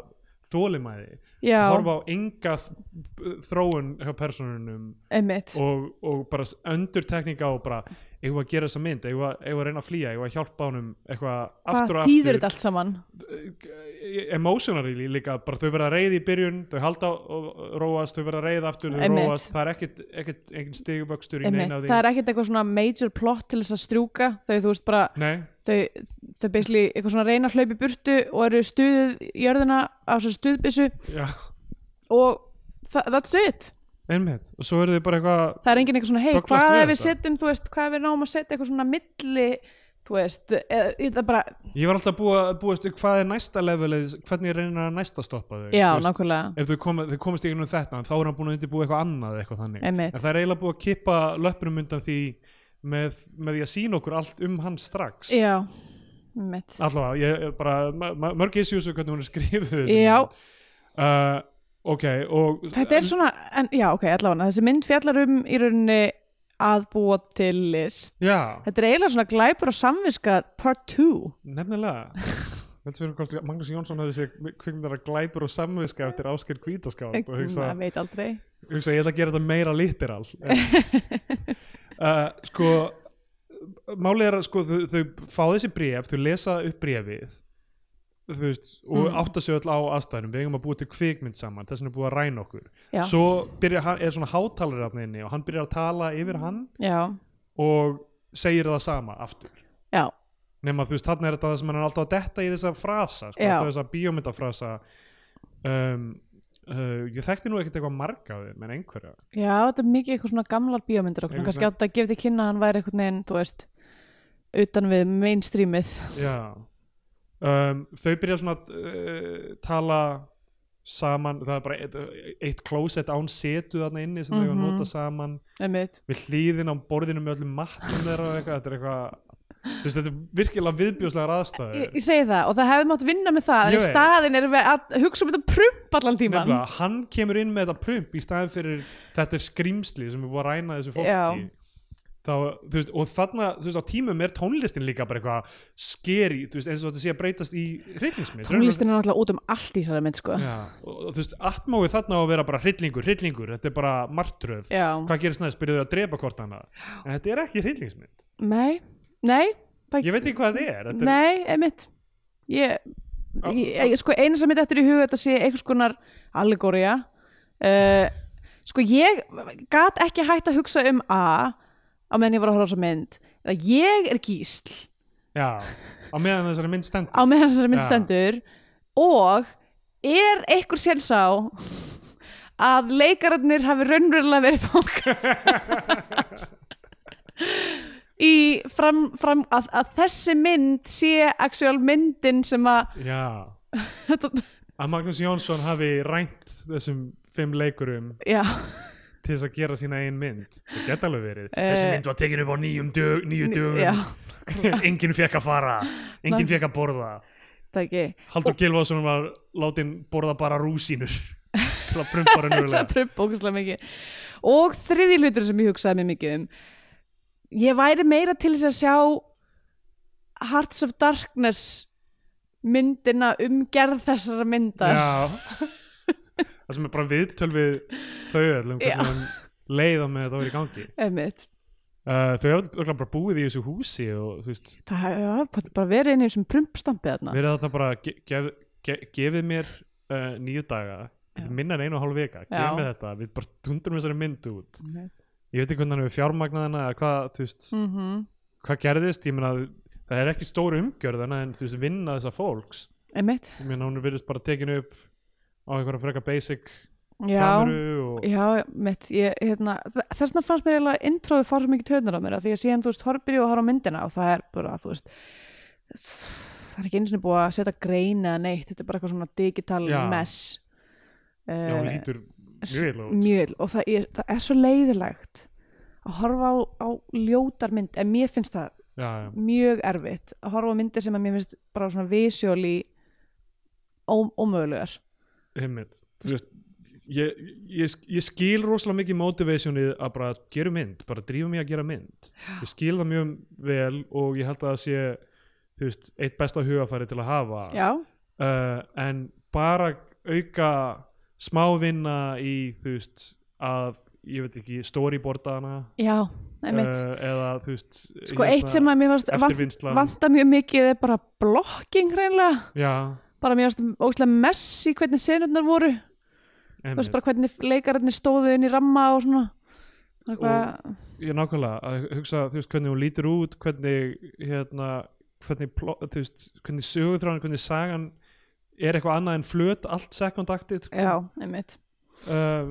S1: þólimæði,
S2: já,
S1: horfa á enga þ- þróun hjá personunum
S2: einmitt
S1: og, og bara öndur tekninga og bara eigum við að gera þessa mynd, eigum við að, eigum við að reyna að flýja eigum við að hjálpa honum eitthvað
S2: hvað
S1: aftur og
S2: þýður
S1: aftur e,
S2: þetta allt saman
S1: emotionally líka, bara þau verða reyð í byrjun þau halda og róast, þau verða reyð aftur þau
S2: Einmitt.
S1: róast, það er ekkit, ekkit engin stigvöxtur í
S2: einmitt,
S1: neina af því
S2: það er ekkert eitthvað svona major plot til þess að strjúka þau, þú veist, bara,
S1: Nei,
S2: þau, þau basically eitthvað svona reyna að hlaupa í burtu og eru stuðið í jörðina á svo stuðbissu
S1: já,
S2: og þa- that's it
S1: einmitt og svo eru þau bara eitthvað
S2: það er engin eitthvað svona, hei,
S1: Bögglast
S2: hvað
S1: við
S2: ef við
S1: þetta?
S2: setjum þú veist, hvað ef við náum að setja eitthvað svona milli, þú veist eða, það bara,
S1: Ég var alltaf búið að búast við hvað er næsta levelið, hvernig reynir hann næst að stoppa þau
S2: já,
S1: Þú veist,
S2: nákvæmlega
S1: Ef þau, kom, þau komist ekki nú þetta, þá er hann búin að undirbúa eitthvað annað eða eitthvað þannig
S2: Einmitt.
S1: En það er eiginlega búið að kippa löprum undan því með, með því að sína okkur allt um hann strax
S2: já, einmitt
S1: Allavega, ég er bara, ma- ma- mörg issues og hvernig hún er skrifuð þessi
S2: Já.
S1: mynd. uh, Ok, og
S2: Þetta er svona, en, já ok, allavega, þessi mynd fjallar um í rauninni að búa til list.
S1: Já,
S2: Þetta er eiginlega svona glæpur og samviska part 2. <laughs>
S1: nefnilega Veltu fyrir hvort Magnús Jónsson hefði sér kvikmyndara glæpur og samviska eftir ásker kvítaskáld og hugsa
S2: Maður veit aldrei.
S1: hugsa ég ætla að gera þetta meira literal En-
S2: <laughs>
S1: uh, sko málið er að sko þau, þau fá þessi bréf, þau lesa upp bréfið þú veist, og
S2: Mm.
S1: átta sig öll á aðstæðunum við eigum að búa til kvikmynd saman, þess vegna er búið að ræna okkur
S2: Já.
S1: svo byrja, er svona hátalari hann inni og hann byrjar að tala yfir hann
S2: já,
S1: og segir það sama aftur
S2: já,
S1: nema þú veist, þarna er þetta það sem hann er alltaf að detta í þessa frasa, sko,
S2: Já.
S1: alltaf þessa bíómyndafrasa um, uh, ég þekkti nú ekkert eitthvað marga af þeim en einhverja
S2: já, þetta er mikið eitthvað svona gamlar bíómyndir okkur,
S1: Einhvern
S2: kannski átt að gefa til kynna að hann væri eitthvað neginn, þú veist utan við mainstreamið
S1: Já um, Þau byrja svona að uh, tala saman það er bara eitt, eitt klósett án setu þarna inni sem þau mm að
S2: Mhm.
S1: nota saman
S2: einmitt,
S1: við hlýðin á borðinu með öllum matnum þeirra og eitthvað, þetta er eitthvað þú veist, þetta er virkilega viðbjóðslegar
S2: ég,
S1: aðstæður
S2: ég segi það og það hefði mátt vinna með það,
S1: Ég
S2: en í
S1: veit.
S2: staðin erum við að hugsa um þetta prump allan tíman
S1: Nefnilega, hann kemur inn með þetta prump í staðin fyrir þetta er skrýmsli sem er búið að ræna þessu fólki
S2: Já.
S1: Þá, þú veist, og þarna, þú veist, á tímum er tónlistin líka bara eitthvað skeri, þú veist, eins og þetta sé að breytast í hryllingsmynd
S2: tónlistin er náttúrulega út um allt í þessari mynd sko já,
S1: Já, og, og þú veist, atmóið þarna á að vera bara hryllingur, hryllingur, þetta er bara martröð hvað gerist næst, byrjuðu að drepa hvort hana en þetta er ekki hryllingsmynd
S2: nei, nei það,
S1: ég veit ekki hvað þetta er, þetta er
S2: nei, einmitt ég,
S1: Á-
S2: ég, ég sko eina sem mitt eftir í huga þetta sé einhvers konar allegória uh, sko ég gat ekki hægt að hugsa um A á meðan ég var að horfa á þessa mynd að ég er gísl
S1: já, á meðan þessari mynd stendur
S2: á meðan þessari mynd
S1: Já.
S2: stendur og er einhver séns á að leikararnir hafi raunverulega verið fangað
S1: <laughs>
S2: í fram, fram að, að þessi mynd sé actual myndin sem að
S1: já,
S2: <laughs> þetta,
S1: að Magnús Jónsson hafi rænt þessum fimm leikurum
S2: já,
S1: til þess að gera sína einn mynd það geta alveg verið,
S2: Eh.
S1: þessi mynd var tekin upp á nýjum dög, nýju
S2: já,
S1: dögum <laughs> enginn fekk að fara, enginn fekk að borða
S2: það ekki
S1: Haldur Gilvason var látin borða bara rúsínur <laughs> til að prumpa raunverulega
S2: það prump ógustlega mikið og þriði hlutur sem ég hugsaði mér mikið um ég væri meira til þess að sjá Hearts of Darkness myndina umgerð þessara myndar
S1: Já Það sem er bara viðtöl við þau öll um
S2: Já.
S1: hvernig hann leiða með þetta verið í gangi
S2: Einmitt.
S1: uh, Þau hafa öll bara búið í þessu húsi og þú veist,
S2: það hefur bara verið inn í þessum prumpstampi þarna
S1: verið þarna bara ge gef ge gefið mér uh, nýju daga þetta
S2: Já.
S1: minnar einu og hálf vika,
S2: Já.
S1: gefið mér þetta við bara tundurum þessari mynd út
S2: Einmitt.
S1: Ég veit ekki hvernig hann hefur fjármagnað hana eða hvað, þú veist,
S2: Mhm.
S1: hvað gerðist ég meina það er ekki stóru umgjörð hana, en þú veist, vinna þessa fólks
S2: Einmitt.
S1: ég meina hún virðist bara tekinu upp á einhverja freka basic
S2: já
S1: kameru og
S2: Já, mitt, ég, hérna, þ- þess vegna fannst mér eiginlega introðu fara svo mikið töðnar á mér af því að síðan, þú veist, horfir ég og horf á myndina og það er bara, þú veist það er ekki einu sinni búið að setja grein eða neitt, þetta er bara eitthvað svona digital
S1: Já.
S2: mess
S1: já, hún
S2: uh,
S1: lítur mjög illa út
S2: mjög ill og það er, það er svo leiðilegt að horfa á, á ljótar mynd en mér finnst það
S1: já, já.
S2: mjög erfitt að horfa á myndir sem að mér finnst bara svona visjóli ómögulegar
S1: einmitt þú veist ég, ég, ég skil rosalega mikið motivationið að bara gera mynd, bara drífa mig að gera mynd ég skil það mjög vel og ég held að það sé þú veist, eitt besta hugafæri til að hafa
S2: Já,
S1: uh, en bara auka smávinna í þú veist að ég veit ekki, storyboardana
S2: já,
S1: uh,
S2: einmitt
S1: eða þú veist hérna,
S2: Sko eitt sem að mér fannst vant-
S1: eftirvinnslan
S2: vanta mjög mikið er bara blokking hreinlega,
S1: já,
S2: bara mér varst ógæslega mess í hvernig senurnar voru þú veist
S1: einmitt
S2: bara hvernig leikararnir stóðu inn í ramma og svona eitthvað,
S1: ég nákvæmlega að hugsa þú veist hvernig hún lítur út hvernig hérna hvernig, pló, þú veist, hvernig sögutráðan, hvernig sagan er eitthvað annað en flöt allt second actið sko.
S2: já, einmitt
S1: uh,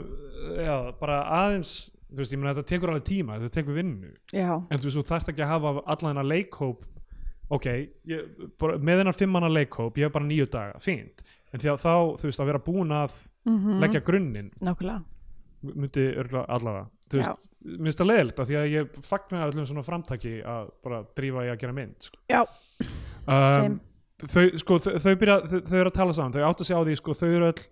S1: já, bara aðeins þú veist, ég meina þetta tekur alveg tíma þetta tekur vinnu,
S2: já,
S1: en þú veist, þú þarft ekki að hafa allan hennar leikhóp ok, ég, bara, með hennar fimm manna leikhóp ég hef bara nýju daga, fínt en því að þá, þú veist, að vera búin að
S2: mm -hmm.
S1: leggja grunninn
S2: nákvæmlega
S1: myndi örgulega allavega þú
S2: Já.
S1: veist, mér finnst það leiðilegt af því að ég fagna öllum svona framtaki að bara drífa í að gera mynd sko.
S2: já,
S1: um,
S2: Same.
S1: þau, sko, þau, þau, byrja, þau, þau eru að tala saman, þau áttu sig á því sko, þau eru öll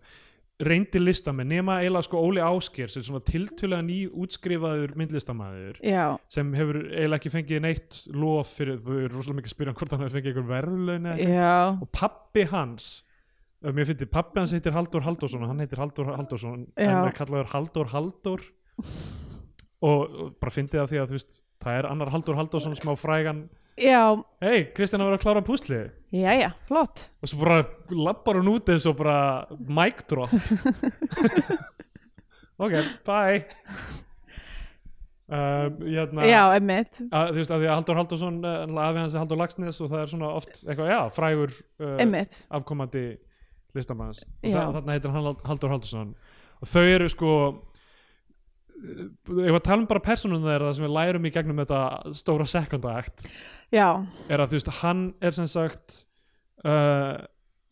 S1: reyndir listamenn nema eiginlega sko Óli Ásker sem er svona tiltölulega ný útskrifaður myndlistamæður
S2: já,
S1: sem hefur eiginlega ekki fengið neitt lof fyrir, þau eru rosalega mikið að spyrja hann hvort hann hefur fengið einhver verðlaun eða eitthvað.
S2: já
S1: og pappi hans eh, mér finnst pappi hans heitir Halldór Halldórsson og hann heitir Halldór Halldórsson en
S2: Já.
S1: er kallaður Halldór Halldór og, og bara fyndið af því að þú veist, það er annar Halldór Halldórsson smá frægan
S2: já,
S1: hei, Kristján að vera að klára púsli
S2: Jæja, flott
S1: og svo bara lappar hún út eins og bara mic
S2: <laughs>
S1: drop ok, bye um, hérna,
S2: Já, Eh. emmitt
S1: að, þú veist, að því að Haldur Haldursson afi hans er Haldur Lagsnes og það er svona oft eitthvað, já, frægur uh,
S2: Emmitt
S1: afkomandi listamanns og
S2: Já.
S1: það, þarna heitir hann Hal- Haldur Haldursson og þau eru sko ef að tala um bara personum þeirra sem við lærum í gegnum þetta stóra second act
S2: Já,
S1: er að þú veist, hann er sem sagt uh,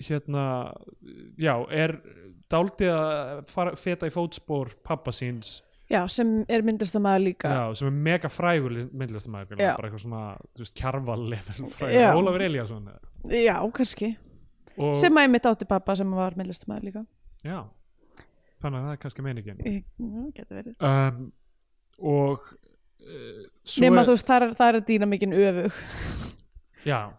S1: hérna já, er dálítið að fara, feta í fótspor pappa síns,
S2: já, sem er myndlistamæður líka
S1: já, sem er mega frægur myndlistamæður,
S2: Já.
S1: bara eitthvað svona þú veist, kjarvalefin
S2: Já.
S1: frægur, Ólafur Elíasson eða.
S2: Já, kannski
S1: og,
S2: Sem að einmitt átti pappa sem var myndlistamæður líka
S1: já þannig að það er kannski meiningin
S2: Ég- Já, getur verið
S1: um, og uh, svo
S2: Nefna
S1: er-
S2: þú veist, það er, það er dýna mikinn öfug
S1: já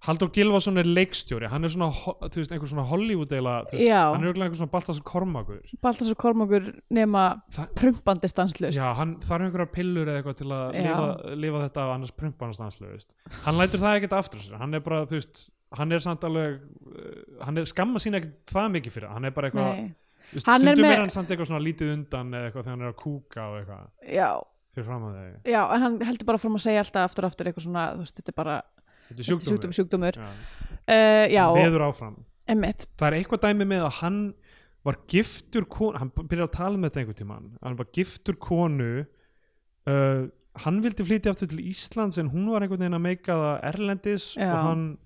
S1: Haldur Gilvason er leikstjóri, hann er svona ho- þú veist, einhver svona Hollywood-eila þú veist,
S2: Já.
S1: hann er örugglega einhver svona Baltasar Kormakur
S2: Baltasar Kormokur nema
S1: Það-
S2: prumpandi stanslust
S1: Já, hann þarf einhverjar pillur eða eitthvað til að
S2: Já.
S1: lifa, lifa þetta af annars prumpanast anslu, veist Hann lætur það ekkert aftur sér, hann er bara, þú veist hann er samt alveg, uh, hann er skamma sín ekkert það mikið fyrir, það. hann er bara eitthvað
S2: Nei,
S1: þú veist,
S2: Hann er
S1: stundum
S2: með-
S1: er hann samt eitthvað svona lítið undan eða eitthvað þegar hann er að kúka og eitthvað
S2: já,
S1: fyrir fram að þau,
S2: já, en hann heldur bara fram að segja alltaf aftur og aftur eitthvað svona, þú veist, þetta er bara
S1: þetta er
S2: þetta er
S1: sjúkdómur
S2: sjúkdómur, sjúkdómur.
S1: Já,
S2: Uh, já
S1: hann veður áfram
S2: emmitt,
S1: það er eitthvað dæmi með að hann var giftur konu hann byrjar að tala um þetta einhvern tímann hann var giftur konu uh, hann vildi flytja aftur til Íslands en hún var einhvern veginn að meika það erlendis
S2: Já.
S1: og hann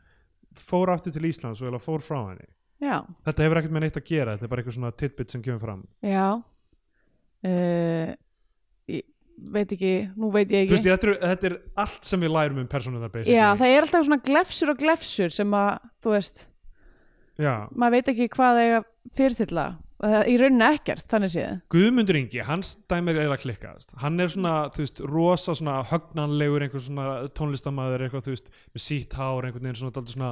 S1: fór aftur til Íslands og eiginlega fór frá henni
S2: já,
S1: þetta hefur ekkert með neitt að gera, þetta er bara eitthvað svona tidbit sem kemur fram
S2: já uh, ég veit ekki nú veit ég
S1: Þú veist,
S2: ekki
S1: þetta, er, þetta er allt sem við lærum um persónuðar basically
S2: já, það er alltaf svona glefsur og glefsur sem að, þú veist,
S1: Já.
S2: maður veit ekki hvað eiga fyrirtilla, það er í rauninni ekkert þannig séð,
S1: Guðmundur Ingi, hans dæmir er að klikka þú veist. hann er svona, þú veist, rosa svona högnanlegur, einhver svona tónlistamæður eitthvað, þú veist, með sítt hár einhvern veginn svona, dálítið svona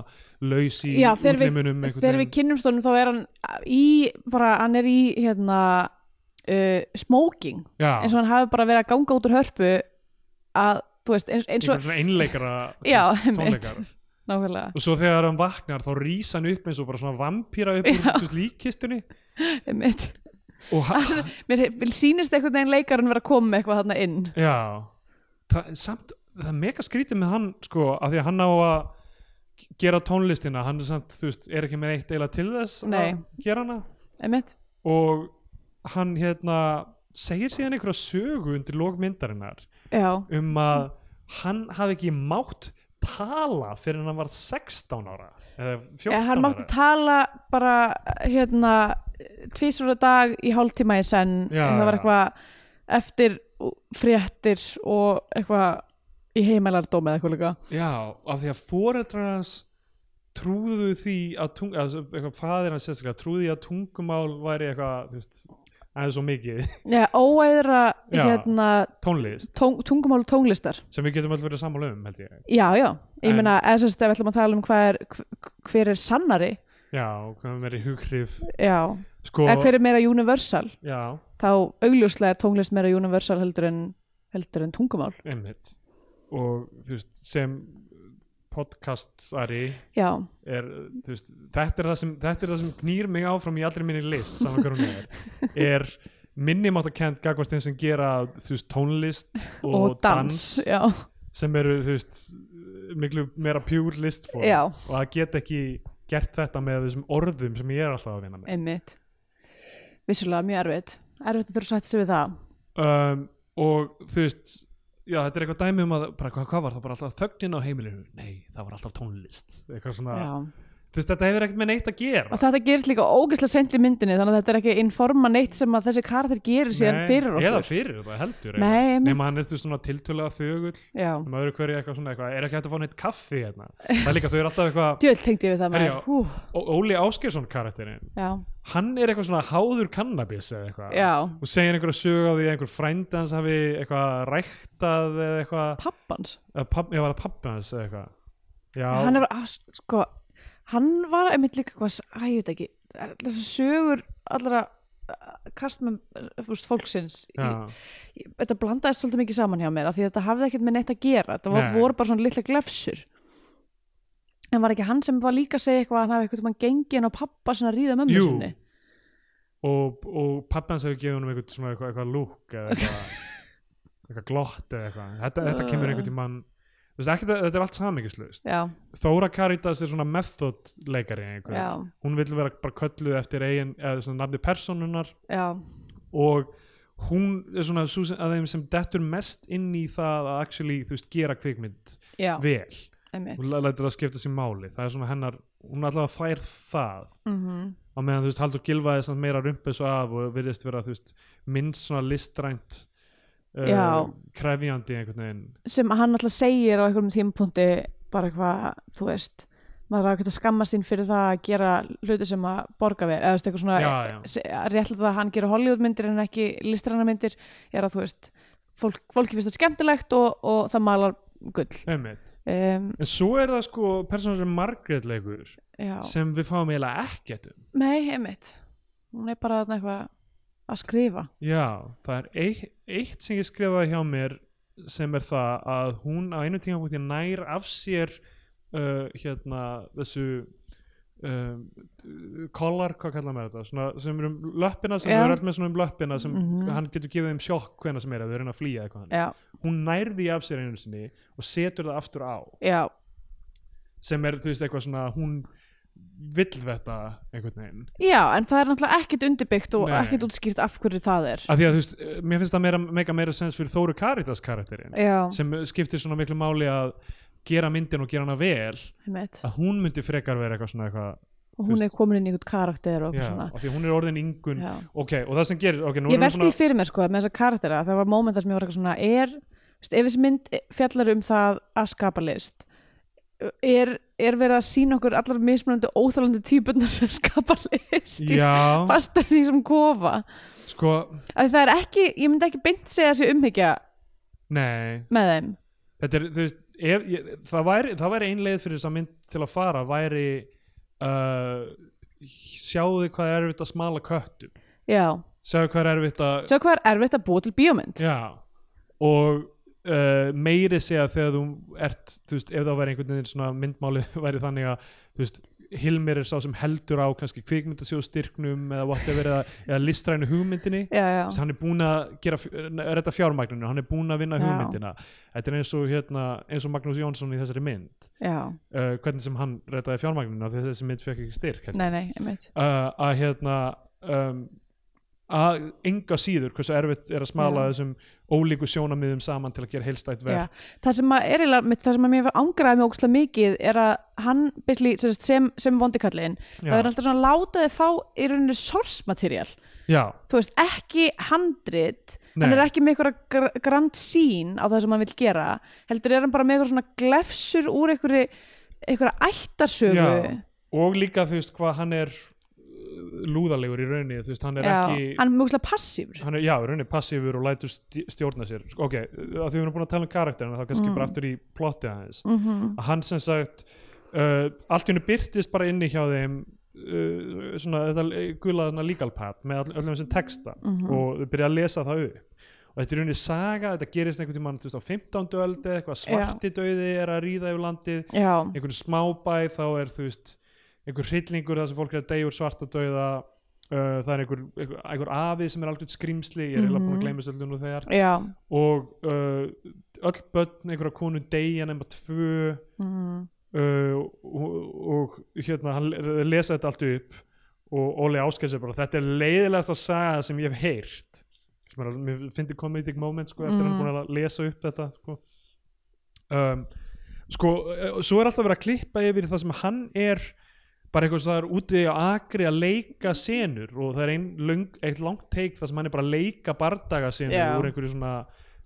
S1: laus í
S2: já, þegar við,
S1: útlimunum Um einhvern
S2: þegar við kynnumst honum þá er hann í, bara, hann er í hérna, uh, smoking
S1: já,
S2: eins og hann hafi bara verið að ganga út úr hörpu að, þú veist, eins, eins
S1: einhvern
S2: og
S1: svona einleikara þú
S2: Já,
S1: veist,
S2: einmitt.
S1: tónleikar
S2: nákvæmlega,
S1: og svo þegar hann vaknar þá rís hann upp eins og bara svona vampíra upp úr
S2: Já.
S1: þú veist, líkkistunni
S2: einmitt
S1: og hann,
S2: <laughs> mér vil sýnist einhvern veginn leikarinn vera að koma með eitthvað þarna inn
S1: Já, það, samt, það er mega skrítið með hann sko, af því að hann á að gera tónlistina, hann er samt, þú veist, er ekki með eitt eila til þess
S2: Nei.
S1: að gera hana
S2: einmitt,
S1: og hann hérna segir síðan einhverja sögu undir lókmyndarinnar
S2: já,
S1: um að hann hafi ekki mátt tala fyrir en hann var 16 ára eða 14
S2: Eða,
S1: ára
S2: hann mátti tala bara hérna, tvísur á dag í hálftíma í senn,
S1: Já,
S2: það var
S1: já.
S2: eitthvað eftir fréttir og eitthvað í heimælardóm eða eitthvað líka
S1: Já, af því að foreldrar hans trúðu því að tung, að, eitthvað, faðir hans sérstaklega trúði að tungumál væri eitthvað þú veist, aðeins og mikið <laughs>
S2: Já, óæðra
S1: Já.
S2: hérna,
S1: tónlist
S2: tóng, tungumál og tónlistar
S1: sem við getum öll verið sammála um held ég
S2: Já, já, ég
S1: En-
S2: meina eða sem sagt ef við ætlum að tala um hvað er hv- hver er sannari,
S1: Já, og hvað með meiri hughrif
S2: já
S1: sko,
S2: eða hver er meira universal,
S1: Já,
S2: þá augljóslega er tónlist meira universal heldur en heldur en tungumál,
S1: einmitt og þú veist, sem podcastari
S2: já
S1: er, þú veist, þetta er það sem þetta er það sem knýr mig áfram í allri minni list saman hver hún <laughs> er er minni máttakent gagvast þeim sem gera þú veist, tónlist og, dans
S2: já,
S1: sem eru þú veist miklu meira pure list form
S2: Já.
S1: og að geta ekki gert þetta með þessum orðum sem ég er alltaf að vinna með
S2: einmitt vissulega mjög erfitt, erfitt að þurfa að sætta sig við það
S1: um, og þú veist já þetta er eitthvað dæmi um að bara, hvað, hvað var það bara alltaf þögnin á heimilinu nei það var alltaf tónlist eitthvað svona
S2: já.
S1: þú veist þetta hefur ekkert með neitt að gera
S2: og þetta gerist líka ógeðslega seint í myndinni þannig að þetta er ekki informa neitt sem að þessi karakter gerir síðan
S1: Nei,
S2: fyrir okkur
S1: eða fyrir það heldur
S2: Nei, einmitt.
S1: nema hann er þú veist, svona tiltölulega þögull
S2: já,
S1: um öðru hverju eitthvað svona eitthvað er ekki hægt að fá neitt kaffi hérna það er líka þau eru alltaf
S2: <laughs>
S1: eitthvað
S2: djöld tengdi ég við það
S1: Herri,
S2: maður
S1: já.
S2: Hú,
S1: Ó- Óli Áskersson karakterinn
S2: já,
S1: hann er eitthvað svona háður kannabis eða eitthvað
S2: já,
S1: og segir einhverja sög á því að einhver frændi hans hafi eitthvað ræktað eða eitthvað
S2: pappans
S1: eða papp, ég var að pappi hans eða eitthvað já,
S2: hann er að, sko hann var einmitt líka hvað að ég veit ekki, þessi sögur allra eh, kastmenn fúst, fólksins
S1: já,
S2: í, í- þetta blandaðist svolítið mikið saman hjá mér af því að þetta hafði ekkert með neitt að gera þetta var,
S1: Nei.
S2: voru bara svona litla glefsur en var ekki hann sem var líka að segja eitthvað að hann hafi eitthvað mann gengið inn á pappa svona að ríða mömmu
S1: Jú.
S2: sinni
S1: og, og pappi hans hefur gefið honum eitthvað, svona eitthvað, eitthvað lúk eða eitthvað, eitthvað glott eða eitthvað þetta,
S2: Ah.
S1: þetta kemur einhvern tímann þú veist, ekki, þetta er allt samingislaust
S2: já,
S1: Þóra Karitas er svona method leikari einhver.
S2: já,
S1: hún vil vera bara kölluð eftir eigin, eða svona nafni personunar
S2: já,
S1: og hún er svona sú sem, að þeim sem dettur mest inn í það að actually, þú veist, gera kvikmynd
S2: já
S1: vel
S2: einmitt
S1: og læ- lætur það skipta sér máli það er svona hennar, hún allavega fær það
S2: mm
S1: á meðan þú veist Haldur Gilva er samt meira rumpið svo af og virðist vera þú veist minnst svona listrænt uh,
S2: Já.
S1: krefjandi einhvern veginn
S2: sem hann alltaf segir á einhverjum tímapunkti bara hvað, þú veist maður er að geta skamma sín fyrir það að gera hluti sem að borga vel eða þú veist, eitthvað svona e,
S1: Já, já.
S2: se- að réttlega það að hann gera Hollywoodmyndir en ekki listrannamyndir er að þú veist fólk, fólki finnst það skemmtilegt og, og það malar gull
S1: einmitt.
S2: um,
S1: en svo er það sko persóna sem Margaret leikur
S2: já,
S1: sem við fáum eiginlega ekkert um
S2: mei, einmitt hún er bara þarna eitthvað að skrifa
S1: já, það er eitt, eitt sem ég skrifaði hjá mér sem er það að hún á einu tíma nær af sér uh, hérna þessu um, kollar, hvað kallar maður þetta svona, sem eru um löppina sem
S2: Já.
S1: eru alltaf með svona um löppina sem
S2: Mhm.
S1: hann getur gefið þeim sjokk hvena sem er að þau reyna að flýja eitthvað hann.
S2: já,
S1: hún nærði af sér einu sinni og setur það aftur á
S2: já,
S1: sem er þú veist eitthvað svona hún vill þetta einhvern veginn
S2: já, en það er náttúrulega ekkit undirbyggt og
S1: Nei.
S2: ekkit útskýrt af hverju það er
S1: af því að þú veist, eh, mér finnst það meira, meika meira sens fyrir Þóru Karitas karakterinn
S2: já,
S1: sem skiptir svona miklu máli að gera myndin og gera hana vel
S2: einmitt
S1: að hún myndi frekar vera eitthvað svona eitthvað
S2: og
S1: þú
S2: hún er
S1: veist-
S2: komin inn í einhvern karakter og eitthvað
S1: já,
S2: svona
S1: af því að hún er orðin yngun
S2: Já.
S1: ok, og það sem gerir ok, nú
S2: ég
S1: erum við
S2: veldi því fyrir mér sko með þessa karaktera það var móment þar sem ég var eitthvað svona er, veist, ef þessi mynd fjallar um það að skapa list er, er verið að sína okkur allar mismunandi óþálandi típunar sem skapa list í
S1: já,
S2: <laughs> fastar því sem kofa
S1: sko,
S2: að það er ekki, ég myndi ekki beint segja þessi umhyggja
S1: nei
S2: með þeim
S1: þetta er, þú veist, ef, ég, það væri það væri ein leið fyrir þess að mynd til að fara væri uh, sjáðu hvað er erfitt að smala köttum
S2: já,
S1: sjáðu hvað er erfitt að
S2: svo hvað er erfitt að búa til bíómynd
S1: Já, og uh, meiri segja þegar þú ert, þú veist, ef það væri einhvern veginn svona myndmálið <laughs> væri þannig að, þú veist, Hilmir er sá sem heldur á kannski kvikmyndasjóð styrknum eða whatever eða, eða listrænu hugmyndinni
S2: já, já,
S1: Þess, hann er búin að gera þetta fjármagninu, hann er búin að vinna
S2: Já.
S1: hugmyndina þetta er eins og, hérna, eins og Magnús Jónsson í þessari mynd,
S2: já,
S1: uh, hvernig sem hann rettaði fjármagninu af því að þessi mynd fekk ekki styrk held ég
S2: nei, nei, einmitt
S1: uh, að hérna um, að enga síður hversu erfitt er að smala
S2: Já.
S1: þessum ólíku sjónamiðum saman til að gera heilstætt verð
S2: Já. það sem að er eiginlega, mitt- það sem að mér ángraði mjög ógstlega mikið er að hann basically, sem, sagt, sem, sem vondikallin það er alltaf svona látaði fá í rauninni source material,
S1: já,
S2: þú veist ekki handrit, hann
S1: Nei.
S2: er ekki með einhverja gr grand scene á það sem hann vil gera heldur er hann bara með einhverja svona glefsur úr einhverju einhverja ættarsögu
S1: já. og líka þú veist hvað hann er uh, lúðalegur í rauninni þú veist hann er ekki
S2: hann er mjög ógstlega passífur
S1: hann er, já, í rauninni passífur og lætur stj- stjórna sér Sko, ok, að því við erum búin að tala um karakterina þá kannski bara aftur í plotti aðeins -hmm. að hann sem sagt uh, allt í hennu byrtist bara inni hjá þeim uh, svona þetta l- gula þarna legal pad með all, öllum þessum texta og þau byrja að lesa það upp og þetta er í rauninni saga, þetta gerist einhvern tímann þú veist, á 15. öldi, eitthvað svarti döiði er að ríða yfir landið
S2: já,
S1: einhvern smábæ þá er þú veist einhver hryllingur þar sem fólk er að deyja úr svartadauða uh, það er einhver, einhver, einhver afi sem er algjörn skrimsli ég er eiginlega búin að gleyma þessu öllu nú þegar
S2: já,
S1: og uh, öll börn einhverja konu deyja nema tvö
S2: mm,
S1: uh, og, og hérna hann le- lesa þetta allt upp og Óli Áskers er bara þetta er leiðilegast að saga sem ég hef heyrt sem er, alveg- mér finnir comedic moment sko, eftir mm. hann er búin að lesa upp þetta sko. Um, sko, eh, svo er alltaf verið að klippa yfir það sem hann er bara eitthvað sem það er úti á akri að leika senur og það er ein löng, eitt langt teik það sem hann er bara að leika bardaga senur
S2: Já.
S1: úr einhverju svona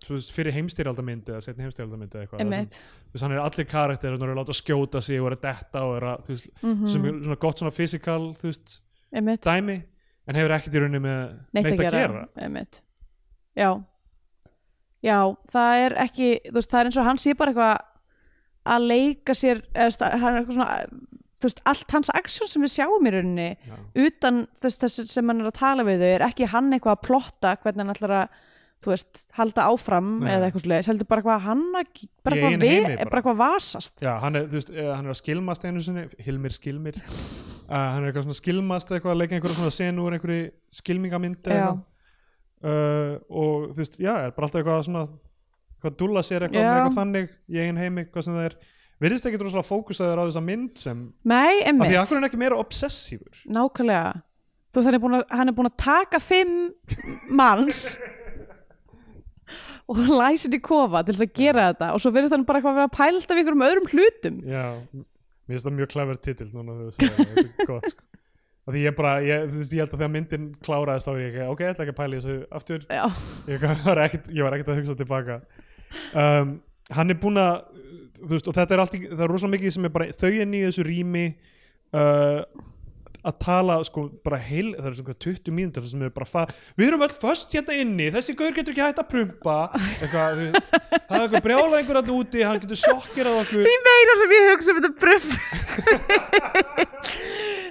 S1: svo fyrir heimstyrjaldamyndi eða setni heimstyrjaldamyndi eða eitthvað þar sem-
S2: einmitt
S1: þú veist, hann er allir karakter hann er að láta skjóta sig og er að detta og er að, þú veist,
S2: mm
S1: sem er svona gott svona fysikal, þú veist,
S2: einmitt,
S1: dæmi en hefur ekkert í rauninni með
S2: neitt að gera einmitt, já já, það er ekki þú veist, það er eins og hann sé bara eitthvað að leika sér eða, þú veist, hann er eitthvað svona, þú veist, allt hans aksjón sem við sjáum í rauninni
S1: Já.
S2: utan þess, þess sem hann er að tala við þau er ekki hann eitthvað að plotta hvernig hann ætlar að þú þú veist, halda áfram
S1: Nei.
S2: eða eitthvað svoleiðis, heldur bara hvað hann að- bara
S1: Í
S2: hvað,
S1: eigin
S2: vi,
S1: heimi bara.
S2: bara hvað vasast
S1: Já, hann er, þú veist, eh, hann er að skilmast einu sinni, Hilmir
S2: <laughs>
S1: skilmir uh, hann er eitthvað svona að skilmast eitthvað að leika einhverja svona senu úr einhverju skilmingamynd
S2: Já.
S1: uh, og þú veist, já, er bara alltaf eitthvað að svona eitthvað að dúlla sér eitthvað,
S2: Já.
S1: með eitthvað þannig í eigin heimi, hvað sem það er virðist ekki droslega fókusaður á þessa mynd sem af
S2: nei,
S1: því
S2: emmitt,
S1: að hann er ekki meira obsessífur
S2: nákvæmlega þú veist, hann er búin að, hann er búin að taka fimm manns og læsa þetta í kofa til þess að gera þetta og svo verðist hann bara eitthvað að vera að pælta við ykkur um öðrum hlutum
S1: Já, mér finnst það mjög klæver titill núna þú veist, það er gott sko. af því ég bara, ég, þú veist, ég held að þegar myndin kláraðist þá er ég ekki, ok, ég ætla ekki að pæla í þessu aftur
S2: já,
S1: ég <laughs> var ekkert, ég var ekkert að hugsa tilbaka um, hann er búinn að þú veist, og þetta er allt í, það er rosalega mikið sem er bara þau enn í þessu rými uh, að tala sko bara heil, það er svona 20 mínútur sem er bara far, við erum öll föst hérna inni þessi gaur getur ekki hægt að prumpa eitthvað, þú veist, það er eitthvað brjála einhver alltaf úti, hann getur sjokkerað okkur
S2: því meira sem ég hugsa um þetta bröf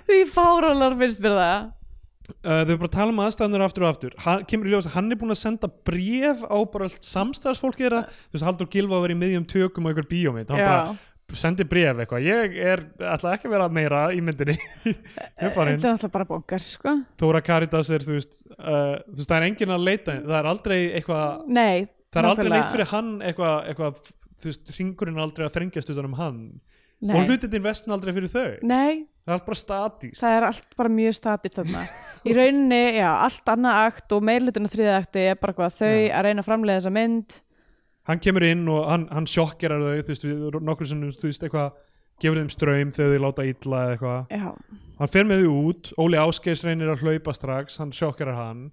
S2: því fárólar finnst mér það
S1: uh, þau bara tala um aðstæðanur aftur og aftur hann, kemur í ljós, að hann er búinn að senda bréf á bara allt samstarfsfólk þeirra þú veist Haldur Gilva var í miðjum tökum á einhver bíómynd hann
S2: Já.
S1: bara sendi bréf eitthvað ég er, ætla ekki að vera meira í myndinni <laughs> ég er
S2: þetta er
S1: farin
S2: náttúrulega bara bongar sko
S1: Þóra Karitas er þú veist, uh, þú veist það er enginn að leita það er aldrei eitthvað
S2: nei,
S1: það er aldrei
S2: nákvæmlega.
S1: leitt fyrir hann eitthvað eitthva, þú veist hringurinn er aldrei að þrengjast utan um hann
S2: Nei.
S1: og hlutindin vestin aldrei fyrir þau
S2: nei,
S1: það er allt bara statist
S2: það er allt bara mjög statist þarna í rauninni, já, allt annað akt og meirlutin og þriða akti er bara hvað þau að reyna að framlega þessa mynd
S1: hann kemur inn og hann, hann sjokkerar þau þú veist, við nokkur sem þú veist eitthvað gefur þeim ströym þegar þau láta illa eða eitthvað
S2: já,
S1: hann fer með þau út, Óli Áskeis reynir að hlaupa strax, hann sjokkerar hann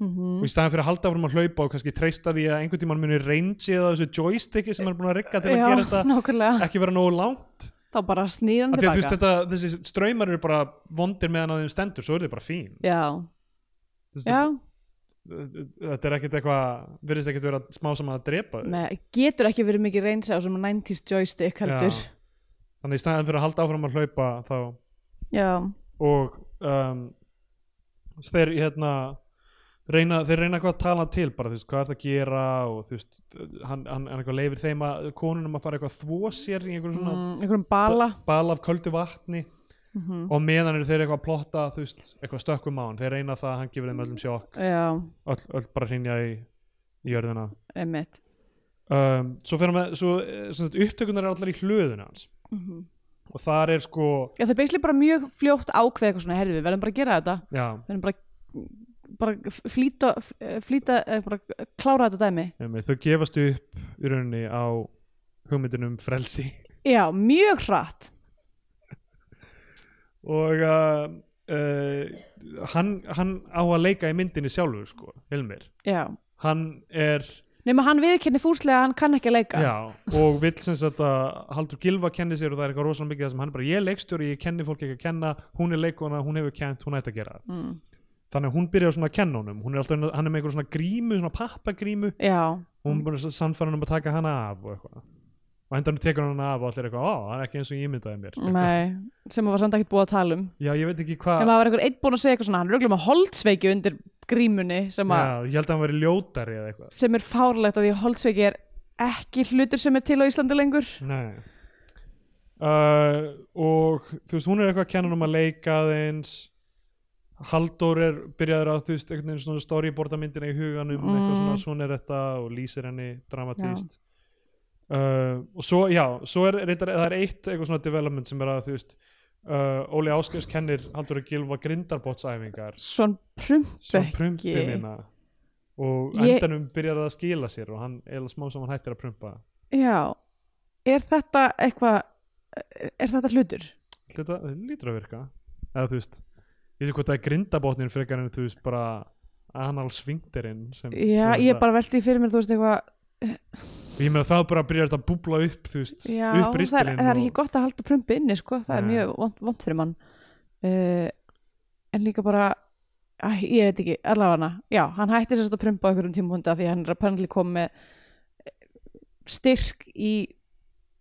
S2: Mhm.
S1: og í staðan fyrir að halda frá að hlaupa og kannski treysta því að einhvern tímann muni range eða þessu joysticki sem hann er búin að rigga til að
S2: já
S1: gera þetta
S2: nákvæmlega
S1: ekki vera nógu langt
S2: þá bara snýr hann
S1: af því að þú veist
S2: tilbaka
S1: þetta, þessi ströymar eru bara vondir meðan að þeim stendur, svo eru þau bara fín
S2: já,
S1: Þú veist,
S2: já,
S1: þetta þetta er ekkert eitthvað virðist ekkert vera smá saman að drepa þau
S2: nei, getur ekki verið mikið reynsa á sem 90s joystick heldur
S1: Já. þannig í staðan fyrir að halda áfram að hlaupa þá
S2: já,
S1: og um, svo þeir hérna reyna, þeir reyna eitthvað að tala til bara þú veist hvað er það að gera og þú veist hann, hann, hann eitthvað leifir þeim að konunum að fara eitthvað að þvó sér í einhverjum svona
S2: mm, einhverjum bala
S1: bala af köldu vatni og meðan eru þeir eitthvað að plotta þú veist eitthvað stökkum á hann, þeir reyna það hann gefur þeim öllum sjokk,
S2: já,
S1: öll, öll bara hrinja í, í jörðina
S2: emitt
S1: um, svo fyrir hann með, svo, eh, sem sagt, upptökunar er allar í hlöðuna hans og þar er sko,
S2: Já, það er basically bara mjög fljótt ákveð eitthvað svona, herði, við verðum bara að gera þetta
S1: já,
S2: við verðum bara, bara flýta, flýta eh, bara klára þetta dæmi
S1: Nefnir, þau gefast upp í rauninni á hugmyndinu um frelsi <laughs>
S2: Já, mjög hratt
S1: og uh, uh, hann, hann á að leika í myndinni sjálfur sko, Hilmir
S2: Já,
S1: hann er,
S2: nema hann viðkynni fúslega að hann kann ekki að leika
S1: já, og vill sem sagt að Haldur Gilva kenni sér og það er eitthvað rosalega mikið það sem hann er bara, ég er leikstjóri, ég kenni fólk ekki að kenna hún er leikona, hún hefur kent, hún ætti að gera það."
S2: mm.
S1: þannig að hún byrjar svona að kenna honum hún er alltaf, hann er með einhver svona grímu, svona pappagrímu
S2: já,
S1: og hún er bara sannfæran um að taka hana af og eitthvað og endanum tekur hann hana af og allir eitthvað, ó, það er ekki eins og ég ímyndaði mér
S2: nei sem var samt ekkert búið að tala um
S1: Já, ég veit ekki
S2: Ef
S1: hvað
S2: maður var einhver einn búin að segja eitthvað svona, hann er örugglega með holdsveiki undir grímunni sem, að,
S1: Já, ég held að hann væri ljótari eða eitthvað
S2: sem er fárlegt að því að holdsveiki er ekki hlutur sem er til á Íslandi lengur
S1: Nei uh, Og þú veist, hún er eitthvað að kenna um að leika aðeins Halldór er byrjaður að þú veist einhvern veginn svona storyboardamyndina í huganum eitthvað
S2: Mm.
S1: svona, svona er þetta og lýsir henni dramatíst uh, og svo, já, svo er, reyndar, það er eitt eitthvað svona development sem er að þú veist uh, Óli Áskeirs kennir Halldór að gilfa grindarbotsæfingar
S2: Svon prump
S1: svo
S2: Ekki.
S1: prumpumina og
S2: Ég-
S1: endanum byrjar það að skila sér og hann eða smá saman hættir að prumpa
S2: Já, er þetta eitthvað er þetta hlutur?
S1: þetta þetta lítur að virka eða þú veist, ég veit hvort það er grindabotnin frekar en þú veist bara anal svingdirinn sem
S2: Já, ég bara velti fyrir mér þú veist eitthvað
S1: og ég meina það bara byrjar þetta að búbla upp þú veist,
S2: Já,
S1: upp
S2: það er,
S1: ristilinn
S2: það er ekki gott að halda prumpi inni sko, það er
S1: Nei.
S2: mjög vond, vond fyrir mann uh, en líka bara æ, ég veit ekki, allavega já, hann hætti sérst að prumpa á einhverjum tímapunkti af því að hann er að pannli kom með eh, styrk í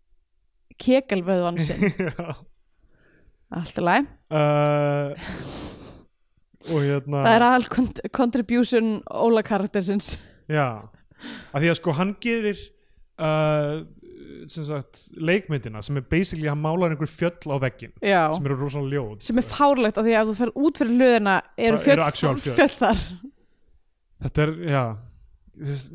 S1: <laughs>
S2: kekelvöðvan sinn
S1: <laughs> Já.
S2: allt í lagi,
S1: uh, og hérna Ah.
S2: það er aðal kont- contribution óla karaktersins
S1: Já, af því að sko hann gerir uh, sem sagt leikmyndina sem er basically hann málar einhver fjöll á veggin
S2: já,
S1: sem eru rosalega ljót
S2: sem er fárlegt af því að ef þú fer út fyrir löðina eru
S1: Bara eru
S2: fjöll,
S1: actual fjöll.
S2: fjöll þar
S1: Þetta er, já þú veist,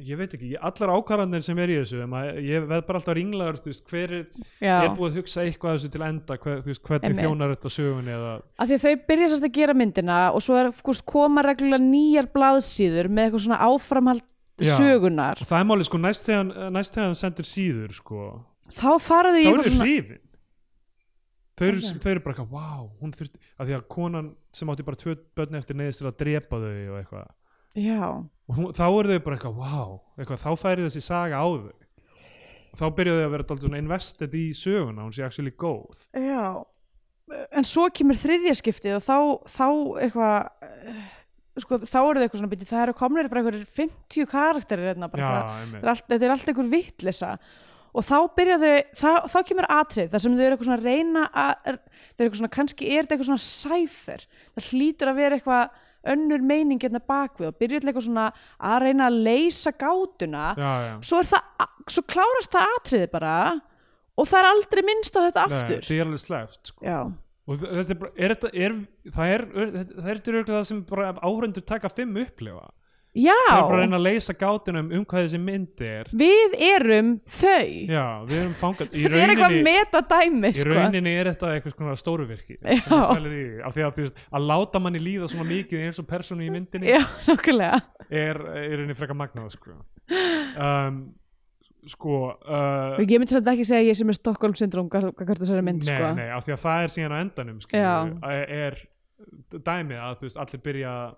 S1: ég veit ekki, ég- allar ákvarðanir sem er í þessu ef maður- ég veð bara alltaf ringlaður þú veist, hver er, er
S2: já,
S1: búið að hugsa eitthvað að þessu til enda hver, þú veist, hvernig
S2: Einmitt.
S1: þjónar þetta sögunni eða,
S2: af því að þau byrja sérst að gera myndina og svo er, fúst, koma reglulega nýjar blaðsýður með eitthvað svona áframhald
S1: Já.
S2: sögunar
S1: það er málið sko næst þegar, hann- næst þegar hann sendir síður sko,
S2: þá fara þau í
S1: þá
S2: eitthvað
S1: eru
S2: svona
S1: hrifin þau eru,
S2: Ok.
S1: þau eru bara eitthvað, wow hún þurfti, að því að konan sem átti bara tvö börn eftir neyðist til að drepa þau og eitthvað
S2: já,
S1: og hún, þá eru þau bara eitthvað, wow eitthvað, þá færi þessi saga á þau og þá byrjuðu þau að vera dálítið svona invested í söguna, hún sé actually góð
S2: já en svo kemur þriðja skiptið og þá, þá eitthvað eh, sko, þá eru þau eitthvað svona byrja það eru komnir bara einhverjir 50 karakterir hérna, bara, eitthvað-
S1: já, einmitt
S2: þetta er allt, þetta er allt einhver vittlisa og þá byrja þau, þá, þá kemur atrið þar sem þau eru eitthvað svona að reyna að þau eru eitthvað svona, kannski er þetta eitthvað svona sæfer það hlýtur að vera eitthvað önnur meining hérna bakvið og byrja eitthvað svona að reyna að leysa gátuna
S1: já, já.
S2: svo, er það, svo klárast það atriði bara og það er aldrei minnst á þetta
S1: Nei,
S2: aftur
S1: það er alveg sleft sko.
S2: Já,
S1: og þ- þetta er, bara- er, þetta, er, það er þetta- það er til auðvitað það sem bara áhrendur taka fimm upplifa það er bara að
S2: Já.
S1: reyna að leysa gátunum um hvað þessi mynd er
S2: við erum þau
S1: já, við erum fangað í
S2: Þetta er eitthvað
S1: rauninni,
S2: metadæmi
S1: í
S2: sko.
S1: rauninni er þetta eitthvað svona stóruvirki
S2: Já.
S1: af því að, þú veist, að láta manni líða svona mikið eins og persónu í myndinni
S2: Já, <laughs> nokkulega
S1: er, er henni frekar magnað
S2: <gasps>
S1: sko um, sko uh,
S2: Og ég myndi samt ekki segja að ég sem er Stockholm syndrom hvað þessari mynd
S1: nei,
S2: sko.
S1: nei, af því að það er síðan á endanum skilur,
S2: Já.
S1: að er dæmið að þú veist, allir byrja að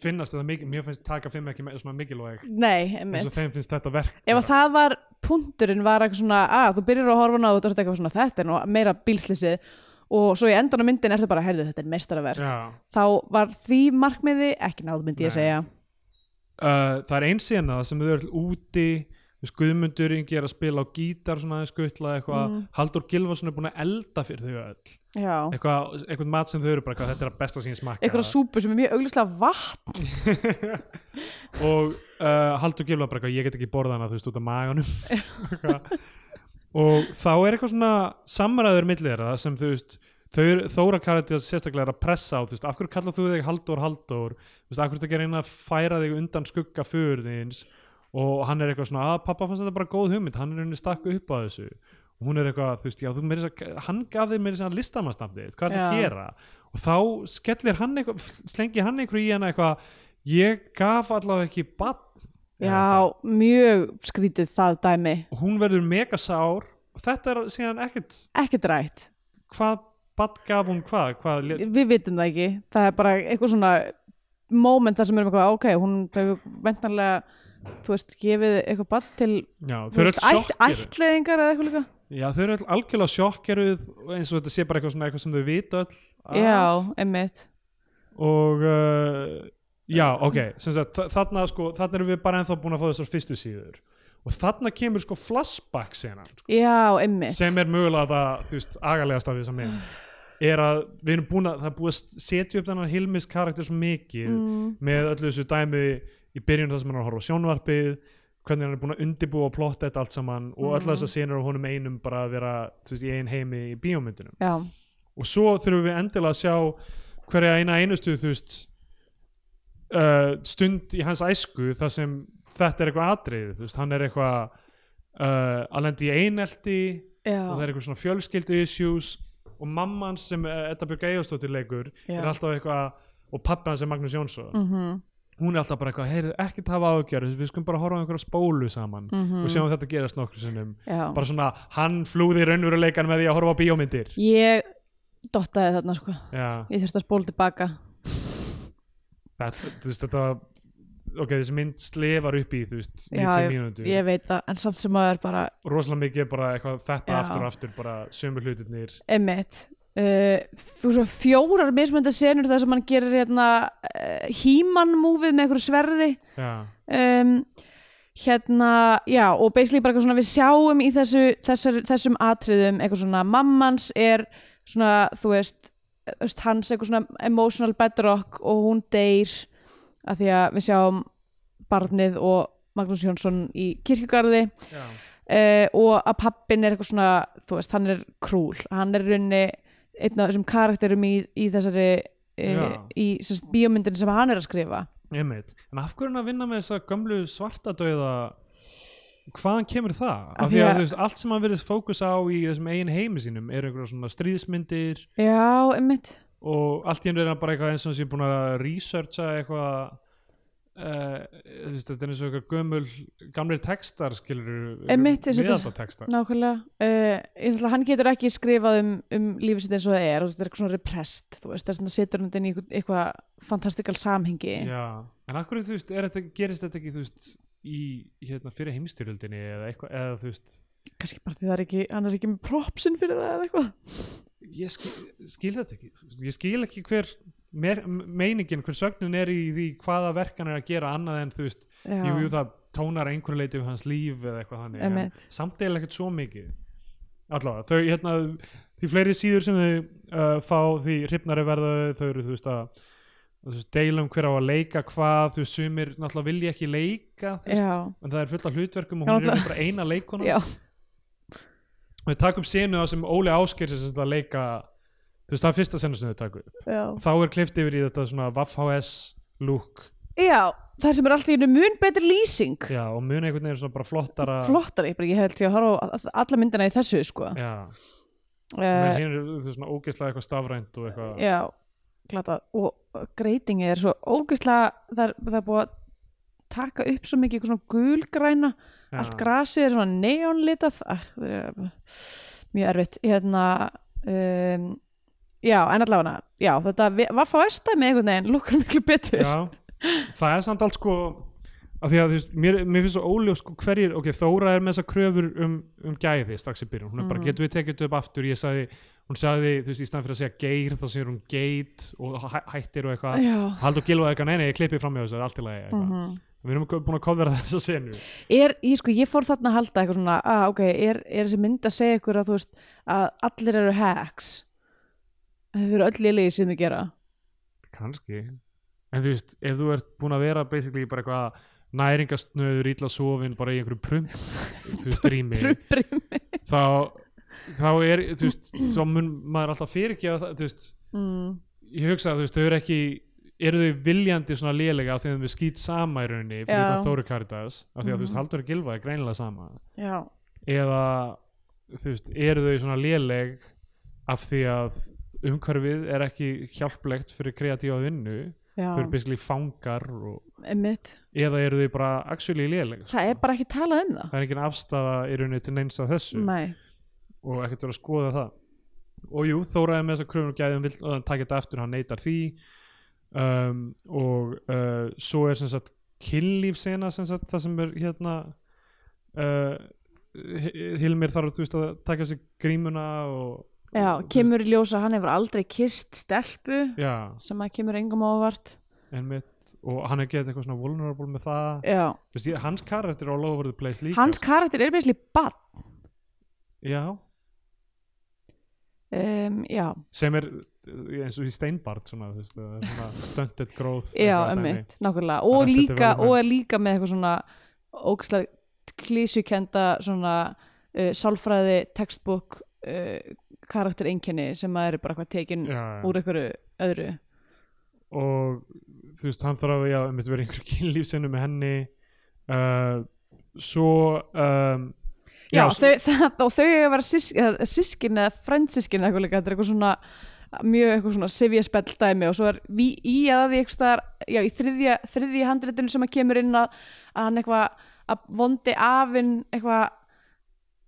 S1: finnast þetta mikið, mér finnst taka fimm ekki me- svona mikilvæg eins
S2: Nei,
S1: og
S2: einmitt.
S1: þeim finnst þetta verk sko.
S2: Ef að það var punturinn var eitthvað svona að þú byrjar að horfa á hana og þú ert eitthvað svona þetta er nú meira bílslýsi og svo í endan á myndin er það bara, heyrðu, þetta er mestaraverk.
S1: Já.
S2: Þá var því markmiði ekki náð myndi ég
S1: Nei.
S2: segja.
S1: Uh, það er eins síðan það sem þau eru úti þú veist, Guðmundur Ingi er að spila á gítar svona aðeins skuttla eitthvað Haldur Gilvason er búin að elda fyrir þau öll
S2: Mm. Já.
S1: eitthvað, eitthvað mat sem þau eru bara eitthvað, þetta er að besta sín smakka
S2: Eitthvað súpu sem er mjög auglislega vatn.
S1: og uh, Haldur Gilva bara eitthvað, ég get ekki borða hana þú veist út af maganum Eitthvað. og þá er eitthvað svona samræður millir þeirra sem þú veist þau eru, Þóra Karatið sérstaklega er að pressa á þú veist, af hverju kallar þú þig Haldur Haldur þú veist, af hverju þetta ekki að reyna að færa þig undan skugga föðurðins og hann er eitthvað svona, að pappa fannst þetta bara góð hugmynd hann er henni stakku upp að þessu og hún er eitthvað, þú veist, já, þú meiri að, hann gaf þig meiri að listamannstandið, hvað er það að
S2: Já.
S1: gera og þá skellir hann eitthvað slengi hann eitthvað í hana eitthvað ég gaf allavega ekki bann
S2: Já, mjög skrítið það dæmi.
S1: og hún verður mega sár og þetta er síðan ekkert
S2: Ekki drætt.
S1: hvað bann gaf hún hvað, hvað lét-
S2: Við vitum það ekki. Það er bara eitthvað svona moment þar sem erum eitthvað, "Ah, ok, hún hefur ventanlega, þú veist, gefið eitthvað bann til
S1: já, þau
S2: þú
S1: eru öll
S2: veist, ætt,
S1: sjokkeruð
S2: ættleiðingar eða eitthvað líka
S1: já, þau eru öll algjörlega sjokkeruð og eins og þetta sé bara eitthvað, svona, eitthvað sem þau vita öll af.
S2: já, einmitt
S1: og uh, já, ok sem sagt, þa- þarna, sko, þarna erum við bara ennþá búin að fá þessar fyrstu síður og þarna kemur sko flashback senan
S2: já, einmitt
S1: sem er mögulega það, þú veist, agalegast af því sem mynd er að við erum búin að það er búið að setja upp þennan Hilmis karakter svo mikið
S2: Mm. Mhm.
S1: með öllu þessu dæmi í byrjun þar sem hann er að horfa á sjónvarpið hvernig hann er búin að undibúa og plotta þetta allt saman og
S2: Mhm.
S1: öll þessar senur á honum einum bara að vera, þú veist, í ein heimi í bíómyndunum
S2: já,
S1: og svo þurfum við endilega að sjá hverja eina einustu þú veist uh, stund í hans æsku þar sem þetta er eitthvað atrið þú veist, hann er eitthvað uh, að lendi í einelti
S2: já,
S1: og það er eitthvað svona fjölskyldu issues og mamma hans sem eh, Edda Björg Eyjastóttir leikur
S2: Já.
S1: er alltaf eitthvað og pappi hans er Magnús Jónsson
S2: Mhm.
S1: hún er alltaf bara eitthvað, heyrðu ekkert hafa ágjörð við skulum bara horfa á einhverja spólu saman
S2: Mhm.
S1: og sjáum þetta gerast nokkru sinnum
S2: já.
S1: bara svona, hann flúði raunveruleikan með því að horfa á bíómyndir
S2: ég dottaði þarna sko
S1: Já,
S2: ég þurfti að spóla tilbaka
S1: það, þú veist, þetta ok, þessi mynd slefar upp í þú veist,
S2: Já,
S1: 90 mínútur
S2: ég veit það, en samt sem að er bara
S1: rosalega mikið er bara eitthvað þetta
S2: Já.
S1: aftur og aftur bara sömu hlutirnir
S2: einmitt Uh, þú svo fjórar mismönda senur þar sem hann gerir hérna uh, hímann-múfið með einhverju sverði
S1: Já,
S2: um, hérna, já og basically bara eitthvað svona við sjáum í þessu, þessar, þessum atriðum eitthvað svona mammans er svona þú veist, þú veist hans eitthvað svona emotional bedrock og hún deyr af því að við sjáum barnið og Magnús Jónsson í kirkjugarði
S1: já,
S2: uh, og að pappin er eitthvað svona þú veist, hann er krúl hann er í rauninni einn af þessum karakterum í, í þessari uh,
S1: Já.
S2: í sérst, bíómyndin sem hann er að skrifa
S1: einmitt en af hverju er hann að vinna með þessa gömlu svartadauða hvaðan kemur það?
S2: Af
S1: af því
S2: því
S1: að
S2: að-
S1: þú veist, allt sem hann verðist fókus á í þessum eigin heimi sínum eru einhverja svona stríðsmyndir
S2: já, einmitt
S1: og allt í hennu er hann bara eitthvað eins og hann sé búin að researcha eitthvað Uh, veist, þetta er eins og eitthvað gömul gamlir textar skilur
S2: Einmitt, eins og þetta er-
S1: textar
S2: Nákvæmlega, uh, náttúrulega hann getur ekki skrifað um, um lífið sitt eins og það er og þetta er eitthvað svona repressed, þú veist, þess að setur hann þetta inn í eitthvað- eitthvað fantastikal samhengi
S1: Já, en akkur þú veist, er þetta, gerist þetta ekki þú veist, í hérna, fyrir heimstyrjöldinni eða eitthvað, eða þú veist
S2: kannski bara því það er ekki, hann er ekki með propsin fyrir það eða eitthvað
S1: ég skil, skil þetta ekki þú veist, ég skil ekki hver mer, meiningin, hver sögnin er í því hvaða verkan er að gera annað en þú veist
S2: Já,
S1: jú, jú, það tónar að einhverju leiti um hans líf eða eitthvað þannig, en
S2: Einmitt.
S1: samt eða ekkert svo mikið allavega, þau hérna því fleiri síður sem þau uh, fá því hrifnari verða þau, þau eru þú veist að þú veist, deilum hver á að leika hvað, þú veist, sumir náttúrulega vilja ekki leika, þú veist,
S2: já,
S1: en það er fullt af hlutverkum og
S2: Já,
S1: hún er í
S2: náttúrulega.
S1: raun bara eina leikona
S2: já,
S1: og þau taka upp senu á sem Óli Ásker sem þetta leika þú veist það er fyrsta senu sem þau taka upp
S2: já.
S1: þá er klift yfir í þetta svona Vaff HS look
S2: já það sem er alltaf einu mun betri lýsing
S1: já, og muni einhvern veginn svona bara flottara
S2: flottari, bara ég held ég að horfa á all- alla myndina í þessu sko
S1: já,
S2: uh,
S1: menn hinn er þú veist, svona ógeðslega eitthvað stafrænt og eitthvað
S2: já, glatað og greitingi er svo ógeðslega það er, það er búið að taka upp svo mikið eitthvað svona gulgræna
S1: Já.
S2: allt grasið er svona neonlitað ah, það er mjög erfitt hérna um, já, en allavega já, þetta vaffa östa með einhvern veginn lukkar miklu betur
S1: já, það er samt allt sko af því að þú veist, mér, mér finnst svo óljós sko, hverjir, ok, Þóra er með þessa kröfur um, um gæði strax í byrjun, hún er
S2: Mm.
S1: bara, getum við tekið þetta upp aftur, ég sagði hún sagði, þú veist, í staðan fyrir að segja geir þá segir hún geit og hæ, hættir og eitthvað
S2: <laughs> já. Mhm.
S1: Haldur Gilvað eitthvað, nei, nei, ég klippi fram í þessu, það er allt í lagi eitthvað. Við erum ko- búin að kofvera þessa senu.
S2: er, ég, sko, ég fór þarna að halda eitthvað svona að ok, er, er þessi mynd að segja ykkur að þú veist að allir eru hacks þau eru öll í liði sem þau gera
S1: Kanski. En þú veist, ef þú ert búin að vera basically bara eitthvað næringasnöður, illa sofin, bara í einhverju prum, þú veist,
S2: <laughs>
S1: rými,
S2: Prumbrimi
S1: þá, þá er, þú veist, þá mun maður alltaf fyrirgefa það, þú veist,
S2: mm.
S1: ég hugsa að þú veist, þau eru ekki, eru þau viljandi svona lélega af því að þau skýt sama í rauninni fyrir
S2: Já.
S1: utan Þóru Karitas, af því að þú veist, Haldur Gilvað er greinilega sama.
S2: Já,
S1: eða þú veist, eru þau svona léleg af því að umhverfið er ekki hjálplegt fyrir kreatífa vinnu,
S2: já,
S1: þau eru basically fangar og,
S2: einmitt
S1: eða eru þau bara actually léleg sko.
S2: Það er bara ekki talað um það
S1: það er engin afstafa í rauninni til neins af þessu
S2: Nei,
S1: og ekkert verið að skoða það og jú, Þóra er með þess að kröfum og gæðum vill að hann taka þetta aftur, hann neytar því um, og uh, svo er sem sagt kynlífsena sem sagt það sem er hérna uh, Hi- Hilmir þarf þú veist að taka sér grímuna og,
S2: já,
S1: og,
S2: kemur í ljósa hann hefur aldrei kist stelpu
S1: já,
S2: sem að kemur engum ávart
S1: einmitt og hann er getið eitthvað svona vulnerable með það
S2: Já,
S1: Þú veist, ég- hans karakter er all over the place líka
S2: hans karakter er beisli bann
S1: já,
S2: um, Já,
S1: sem er uh, eins og í steinbart svona, þú veist, það er svona stunted growth
S2: já,
S1: eitthvað dæmi.
S2: einmitt, nákvæmlega
S1: Það
S2: og
S1: er svolítið
S2: líka,
S1: vel
S2: og er líka með eitthvað svona ógæslega klísukenda svona uh, sálfræði textbook uh, karaktereinkenni sem að eru bara eitthvað tekin
S1: Já, já.
S2: úr einhverju öðru
S1: og þú veist, hann þarf að já, einmitt verið einhver kynlífsinu með henni uh, svo um,
S2: Já,
S1: s-
S2: þau, það, og þau eiga að vera sísk, sískin eða frændsískin eða eitthvað líka, þetta er eitthvað svona mjög eitthvað svona sifjaspell dæmi og svo er við í að því eitthvað staðar, já, í þriðja, þriðja handritinu sem að kemur inn að, að hann eitthvað að vondi afinn eitthvað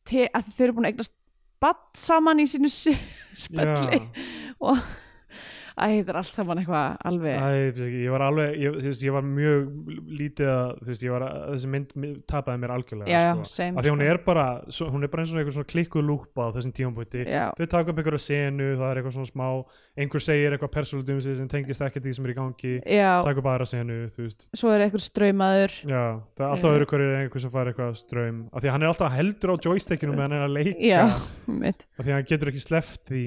S2: te, að þau eru búin að eignast batt saman í sínu si- <laughs> spelli og æ, þetta er allt saman eitthvað
S1: Æ,
S2: alveg,
S1: ég, veit ekki, ég var alveg, ég, þú veist, ég var mjög lítið að, þú veist, ég var að, þessi mynd mi- tapaði mér algjörlega,
S2: já, já,
S1: sko
S2: same
S1: af því hún
S2: sko.
S1: er bara, svo, hún er bara eins og einhver svona klikkuð lúpa á þessum tímapunkti
S2: já,
S1: þau taka upp einhverja senu, það er eitthvað svona smá einhver segir eitthvað persónulegdum sem tengist ekki því sem er í gangi,
S2: já,
S1: taka upp aðra senu þú veist,
S2: svo er eitthvað ströymaður
S1: Já, það er alltaf
S2: Eh.
S1: öðru hverju er einhver sem fær eitthvað straum af því að hann er alltaf heldur á joystickinu meðan hann er að leika
S2: já,
S1: af
S2: mitt,
S1: því að hann getur ekki sleppt því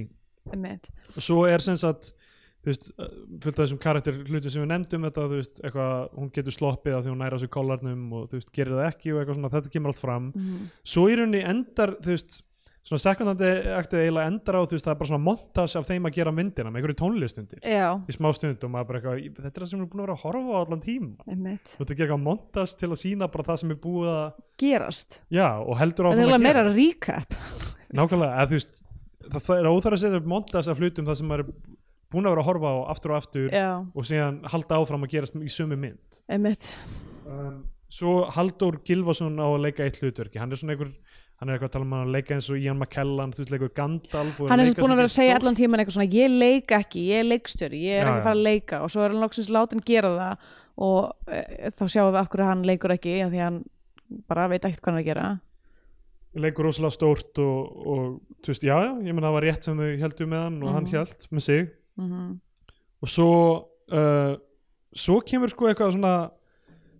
S2: mitt
S1: og svo er sem sagt þú veist, uh, fullt af þessum karakter hlutum sem við nefndum þetta, þú veist, eitthvað hún getur sloppið af því hún næra þessu kollarnum og þú veist, gerir það ekki og eitthvað svona, þetta kemur allt fram
S2: Mhm.
S1: svo í rauninni endar, þú veist svona sekundandi aktið eiginlega endar á þú veist, það er bara svona montas af þeim að gera myndina með einhverju tónlistundir
S2: Já,
S1: í smá stund og maður bara eitthvað, "Í- þetta er það sem við erum búin að vera að horfa á allan tíma
S2: einmitt
S1: þú ert að gera eitthvað montas til að sína bara það sem er búið að
S2: Gerast
S1: já, og heldur
S2: Það er
S1: áfram
S2: eiginlega
S1: að
S2: meira
S1: gera
S2: recap
S1: nákvæmlega, eða þú veist það, það er óþar að setja upp montas af hlutum það sem maður er búin að vera að horfa á aftur og aftur
S2: Já,
S1: og síðan halda áfram að gerast í sömu mynd
S2: einmitt
S1: um, svo Halldór Gilvason á að leika eitt hlutverki, hann er svona einhver hann er eitthvað að tala um hann að leika eins og Ian McKellan þú veist, leikur Gandalf og
S2: Hann
S1: leika
S2: er sem sagt búin
S1: svona
S2: að vera að segja
S1: stórt-
S2: allan tíman eitthvað svona Ég leika ekki, ég er leikstjöri, ég
S1: Já,
S2: er ekki að fara að leika Og svo er hann loksins látin gera það Og e, þá sjáum við okkur að hann leikur ekki af Því að hann bara veit ekkert hvað hann er að gera
S1: leikur rosalega stórt og, og þú veist, já, já, ég menn það var rétt sem þau heldur með hann og hann
S2: Mhm.
S1: held með sig
S2: Mhm.
S1: og svo uh, svo kemur sko eitthvað svona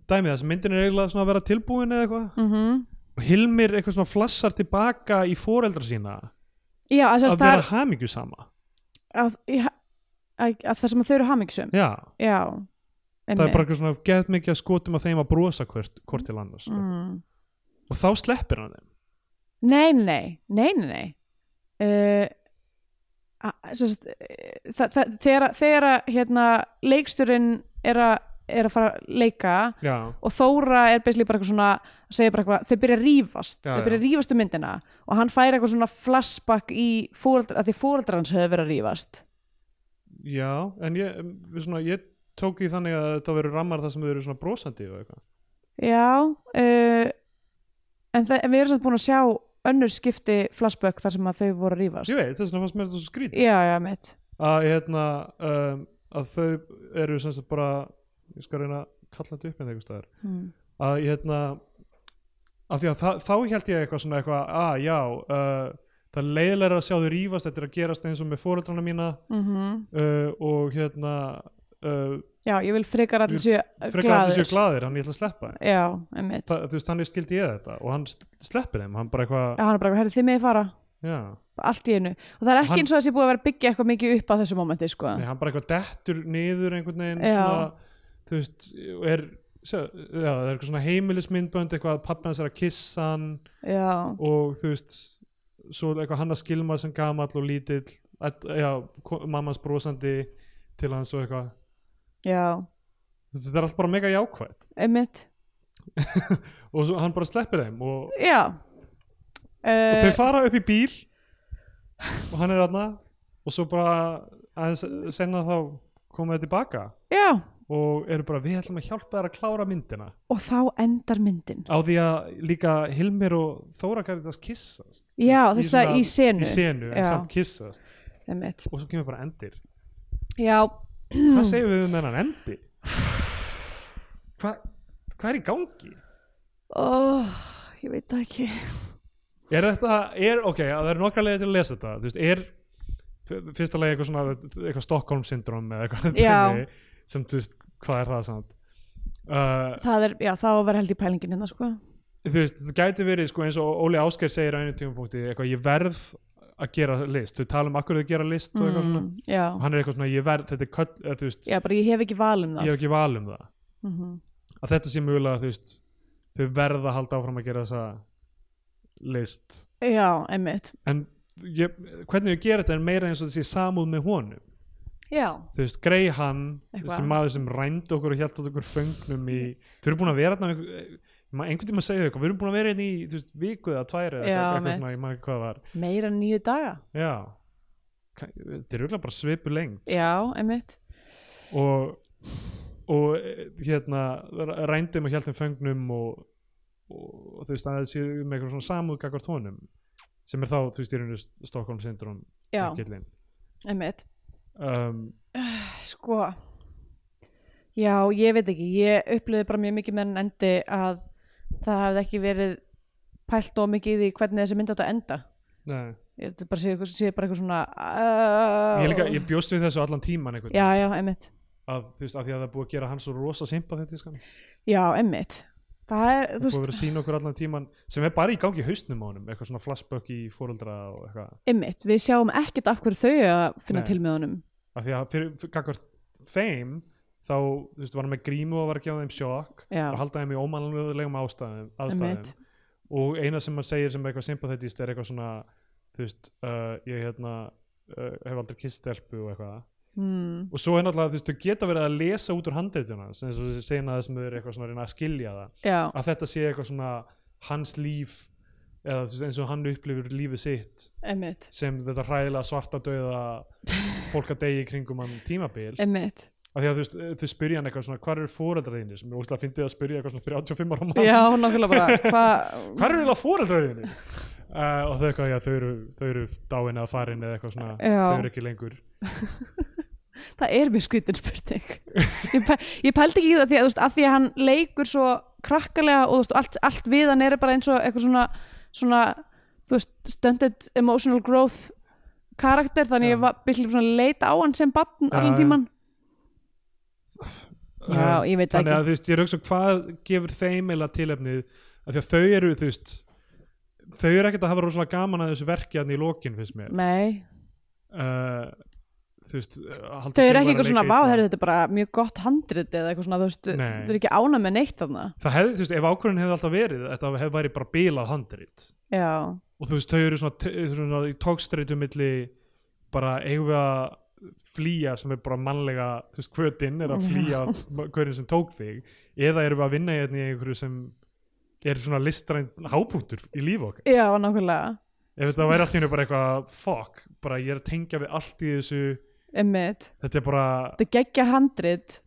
S1: dæmið, þess að myndin er eiginlega svona að vera tilbúin eða eitthvað,
S2: Mhm.
S1: og Hilmir eitthvað svona flassar tilbaka í foreldra sína
S2: Já, að
S1: að
S2: sérst það
S1: vera
S2: er
S1: hamingju sama
S2: að, að, að það sem að þau eru hamingisum
S1: já,
S2: Já,
S1: það er bara eitthvað svona gett mikið að skotum að þeim að brosa hvert, hvort til annars sko.
S2: mm.
S1: og þá sleppir hann þeim
S2: Nei, nei, nei, nei, nei. Uh, a- sem sagt, eh, þa- þa- þegar þegar að, hérna, leikstjórinn er, a, er að fara að leika
S1: já,
S2: og Þóra er basically bara eitthvað svona að segja bara eitthvað, þau byrja að rífast
S1: Já,
S2: þau byrja að rífast um myndina og hann fær eitthvað svona flashback í fóreldra, að því fóreldra hans höfðu verið að rífast
S1: já en ég, um, við svona, ég tók í þannig að þetta verður rammar það sem þau eru svona brosandi og eitthvað
S2: Já uh, en, það, en við erum samt búin að sjá önnur skipti flashback þar sem að þau voru að rífast
S1: ég veit, þess vegna fannst mér þetta svo skrítið
S2: Já, já, mitt
S1: að, hérna, um, að þau eru sem sagt bara ég skal reyna að kalla þetta upp með einhver staðar
S2: mm.
S1: að hérna af því að þa þá held ég eitthvað svona eitthvað að já, uh, það er leiðilega að sjá þau rífast, þetta er að gerast eins og með foreldrana mína
S2: Mhm.
S1: uh, og hérna uh,
S2: Já, ég vil frekar allir séu
S1: frekar að
S2: glaðir.
S1: þessu séu glaðir, hann ég ætla að sleppa þeim
S2: Já, einmitt
S1: Þa, þú veist, þannig skildi ég þetta og hann s- sleppir þeim, hann bara eitthvað
S2: Já, hann er bara, herri, þið meði fara
S1: já,
S2: allt í einu og það er ekki
S1: Hann-
S2: eins og þessi búið að vera að byggja eitthvað mikið upp á þessu momenti, sko
S1: nei, hann bara eitthvað dettur niður einhvern veginn
S2: Já.
S1: svona, þú veist, og er sjá, já, það er eitthvað svona heimilismyndbönd eitthvað að pappi hans er að kissa hann
S2: Já,
S1: og þú veist svo eitthvað hann að skilma sem gamall og lítill að, já, ko- mamma hans brosandi til hans og eitthvað
S2: já,
S1: Þú veist, þetta er allt bara mega jákvætt
S2: einmitt
S1: og svo, hann bara sleppir þeim og,
S2: Já
S1: og
S2: uh,
S1: þau fara upp í bíl og hann er aðna og svo bara aðeins senna þá koma þau tilbaka
S2: Já,
S1: og eru bara við ætlum að hjálpa þær að klára myndina
S2: og þá endar myndin
S1: á því að líka Hilmir og Þóra Karitas kissast Þú
S2: Já,
S1: veist,
S2: þess að í senu,
S1: í senu en
S2: Já.
S1: samt kissast
S2: einmitt
S1: og svo kemur bara
S2: <clears throat>
S1: endir
S2: Já,
S1: hvað segir við um þennan endi? Hva, hvað er í gangi?
S2: oh, ég veit það ekki
S1: Er þetta, er, ok, að það eru nokkra leiðir til að lesa þetta, þú veist, er f- fyrsta leið eitthvað svona, eitthvað Stockholm syndrom eða eitthvað
S2: Já.
S1: dæmi sem, þú veist, hvað er það samt? Uh,
S2: Það er, já, þá var held í pælingin hérna, sko
S1: þú veist, það gæti verið, sko, eins og Óli Ásker segir á einu tímapunkti, eitthvað, ég verð að gera list, þau tala um akkur þau gera list og eitthvað svona,
S2: mm, Já,
S1: og hann er eitthvað svona, ég verð, þetta er köll, eða, þú veist,
S2: já, bara ég hef ekki val um
S1: ég
S2: það
S1: hef ekki val um það.
S2: Mhm.
S1: að þetta sé mjögulega þú veist þau verða að halda áfram að gera þessa list
S2: Já, einmitt
S1: en ég, hvernig við gera þetta er meira eins og þessi samúð með honum
S2: Já,
S1: þú veist, grei hann,
S2: Eitthvað.
S1: þessi maður sem rændi okkur og hjælt okkur föngnum í þau eru búin að vera þarna einhver- ma- einhvern tíma að segja eitthvað, við erum búin að vera hérna í þú veist, viku eða tværi eða
S2: Já,
S1: eitthvað,
S2: mitt.
S1: eitthvað svona, ég maður hvað það var
S2: meira en nýju daga
S1: já, Ka- þetta er auðvitað bara svipu lengt
S2: Já, einmitt
S1: og, og eh, hérna rændum og hjæltum föngnum og, og, og þú veist að það séu með eitthvað svona samúðgagvart honum sem er þá, þú veist, í rauninu Stockholm syndrom
S2: Já,
S1: gillin
S2: einmitt
S1: um,
S2: Sko Já, ég veit ekki, ég upplöði bara mjög mikið með enn endi að það hafði ekki verið pælt og mikið í því hvernig þessi mynd átt að enda
S1: nei.
S2: Ég þetta bara sé, eitthvað- sé bara eitthvað svona uh,
S1: ég, líka, ég bjóst við þessu allan tíman einhvern
S2: Já,
S1: veginn,
S2: já, einmitt
S1: að þú veist, af því að það er búið að gera hann svo rosa sympathetískan
S2: Já, einmitt Það er, þú
S1: búið að
S2: veist,
S1: vera að sína okkur allan tíman sem er bara í gangi í hausnum á honum eitthvað svona flashback í fóreldra og eitthvað
S2: einmitt Við sjáum ekkert af hverju þau eru að finna
S1: Nei.
S2: til með honum
S1: af því að fyrir, fyrir gagvart þeim þá þú veist, var hann með grímu og var að gefa þeim sjokk
S2: Já.
S1: og halda þeim í ómannlegum ástæðum, aðstæðum
S2: Einmitt.
S1: og eina sem hann segir sem er eitthvað sympathetist er eitthvað svona þú veist, uh, ég hérna uh, hef aldrei kist stelpu og eitthvað
S2: mm,
S1: og svo er náttúrulega, þú veist, þau geta verið að lesa út úr handreitjuna, sem þessu sena þessum þau eru eitthvað svona að reyna að skilja það
S2: já,
S1: að þetta sé eitthvað svona hans líf eða þú veist, eins og hann upplifur lífið sitt
S2: emmitt
S1: sem þetta hræðilega svarta döiða fólk að degi kringum hann tímabil
S2: emmitt,
S1: af því að þú veist, eh, þau spyrja hann eitthvað svona hvar eru fóreldrar þínir, sem er óslega fyndið að spyrja eitthvað svona 35 ára mann,
S2: já, nákvæmlega
S1: <laughs>
S2: bara hvað,
S1: hvar eru eiginlega fóreldrar þínir uh, og þau eitthvað, já, þau eru þau eru dáin eða farin eða eitthvað svona
S2: Já.
S1: þau eru ekki lengur
S2: það er mjög skvítin spurning ég, pæ, ég pældi ekki í það því að, þú veist, að því að hann leikur svo krakkalega og þú veist, allt, allt við hann er bara eins og eitthvað svona, svona þú veist, stunted emotional growth karakter, þannig
S1: Já.
S2: ég var byrjum svona að leita á hann sem barn
S1: Já,
S2: allan
S1: já.
S2: tíman Já,
S1: Um,
S2: ég veit það
S1: þannig
S2: ekki.
S1: að þú veist, ég er auðvitað hvað gefur þeim eða tilefnið, af því að þau eru þú veist, þau eru ekkert að hafa rosalega gaman að þessu verki hann í lokin finnst mér
S2: Nei,
S1: uh, þú veist uh,
S2: þau eru ekki eitthvað svona vá, herri, þetta er bara mjög gott handrit eða eitthvað svona, þú veist,
S1: Nei.
S2: þau eru ekki ána með neitt þarna,
S1: það hefði, þú veist, ef ákvörðin hefði alltaf verið þetta hefði væri bara bilað handrit
S2: já
S1: og þú veist, þau eru svona, t- þau eru svona í tókstreitu milli bara eigum við að flýja sem er bara mannlega, þú veist, hvötin er að
S2: Já.
S1: flýja hverjum sem tók þig eða erum við að vinna hérna í einhverju sem er svona listræn hápunktur í lífi okkar,
S2: Já, nákvæmlega,
S1: ef þetta væri allt í hennu bara eitthvað fuck, bara ég er að tengja við allt í þessu,
S2: emmitt
S1: þetta er bara
S2: Þetta geggja handrit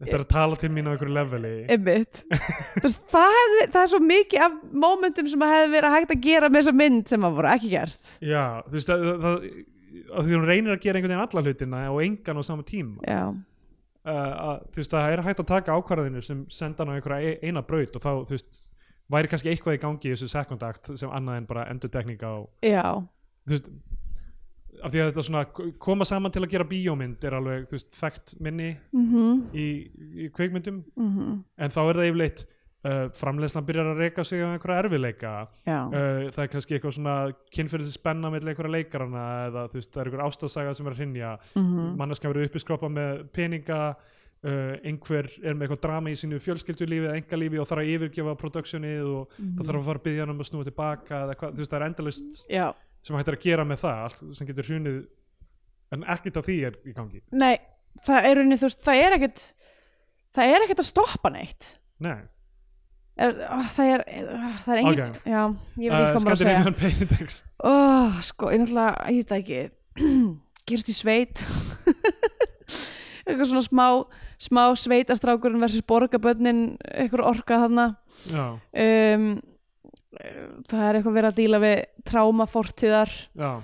S1: þetta er að tala til mín á einhverju leveli
S2: Einmitt. Þú veist, það, hefði, það er svo mikið af mómentum sem að hefði verið hægt að gera með þessa mynd sem að voru ekki gert
S1: Já, þú veist að, að, að, að því hún reynir að gera einhvern veginn alla hlutina og engan á sama tíma uh,
S2: Já,
S1: að, þú veist að það er hægt að taka ákvarðinu sem senda hann á einhverja e- eina braut og þá þú veist væri kannski eitthvað í gangi í þessu sekundakt sem annað en bara endurtekning á
S2: já,
S1: þú veist af því að þetta svona k- koma saman til að gera bíómynd er alveg þú veist þekkt minni
S2: mhm,
S1: í, í kveikmyndum
S2: mhm
S1: en þá er það yfirleitt uh, framleiðslan byrjar að reyka sig á einhverja erfiðleika
S2: Já,
S1: uh, það er kannski eitthvað svona kynfyrðið spenna með einhverja leikarana eða þú veist, það er einhver ástasaga sem er að hrinja
S2: mhm,
S1: manneskan verið uppiskroppa með peninga uh, einhver er með eitthvað drama í sínu fjölskyldulífi eða engalífi og þarf að yfirgefa productionið og
S2: Mm.
S1: það þarf að fara að byggja hann um að snúa tilbaka eða hvað, þú veist, það er endalust
S2: já
S1: sem hægt er að gera með það, allt sem getur hrunið en ekkert af því er í gangi
S2: Nei, það er unni, þú veist, það er ekkert það er ekkert að stoppa neitt
S1: Nei,
S2: er, ó, Það er, ó, það er engin
S1: Ok. Uh,
S2: Já, ég veit ekki
S1: Eh,
S2: hvað maður að segja
S1: Scandinavian Paindex
S2: Ó, sko, ég náttúrulega, ég veit það ekki <clears throat> gerist í sveit <laughs> eitthvað svona smá smá sveitastrákurinn versus borgarbönnin eitthvað orka þarna
S1: Já,
S2: um, það er eitthvað verið að díla við tráma fortíðar
S1: já,
S2: uh,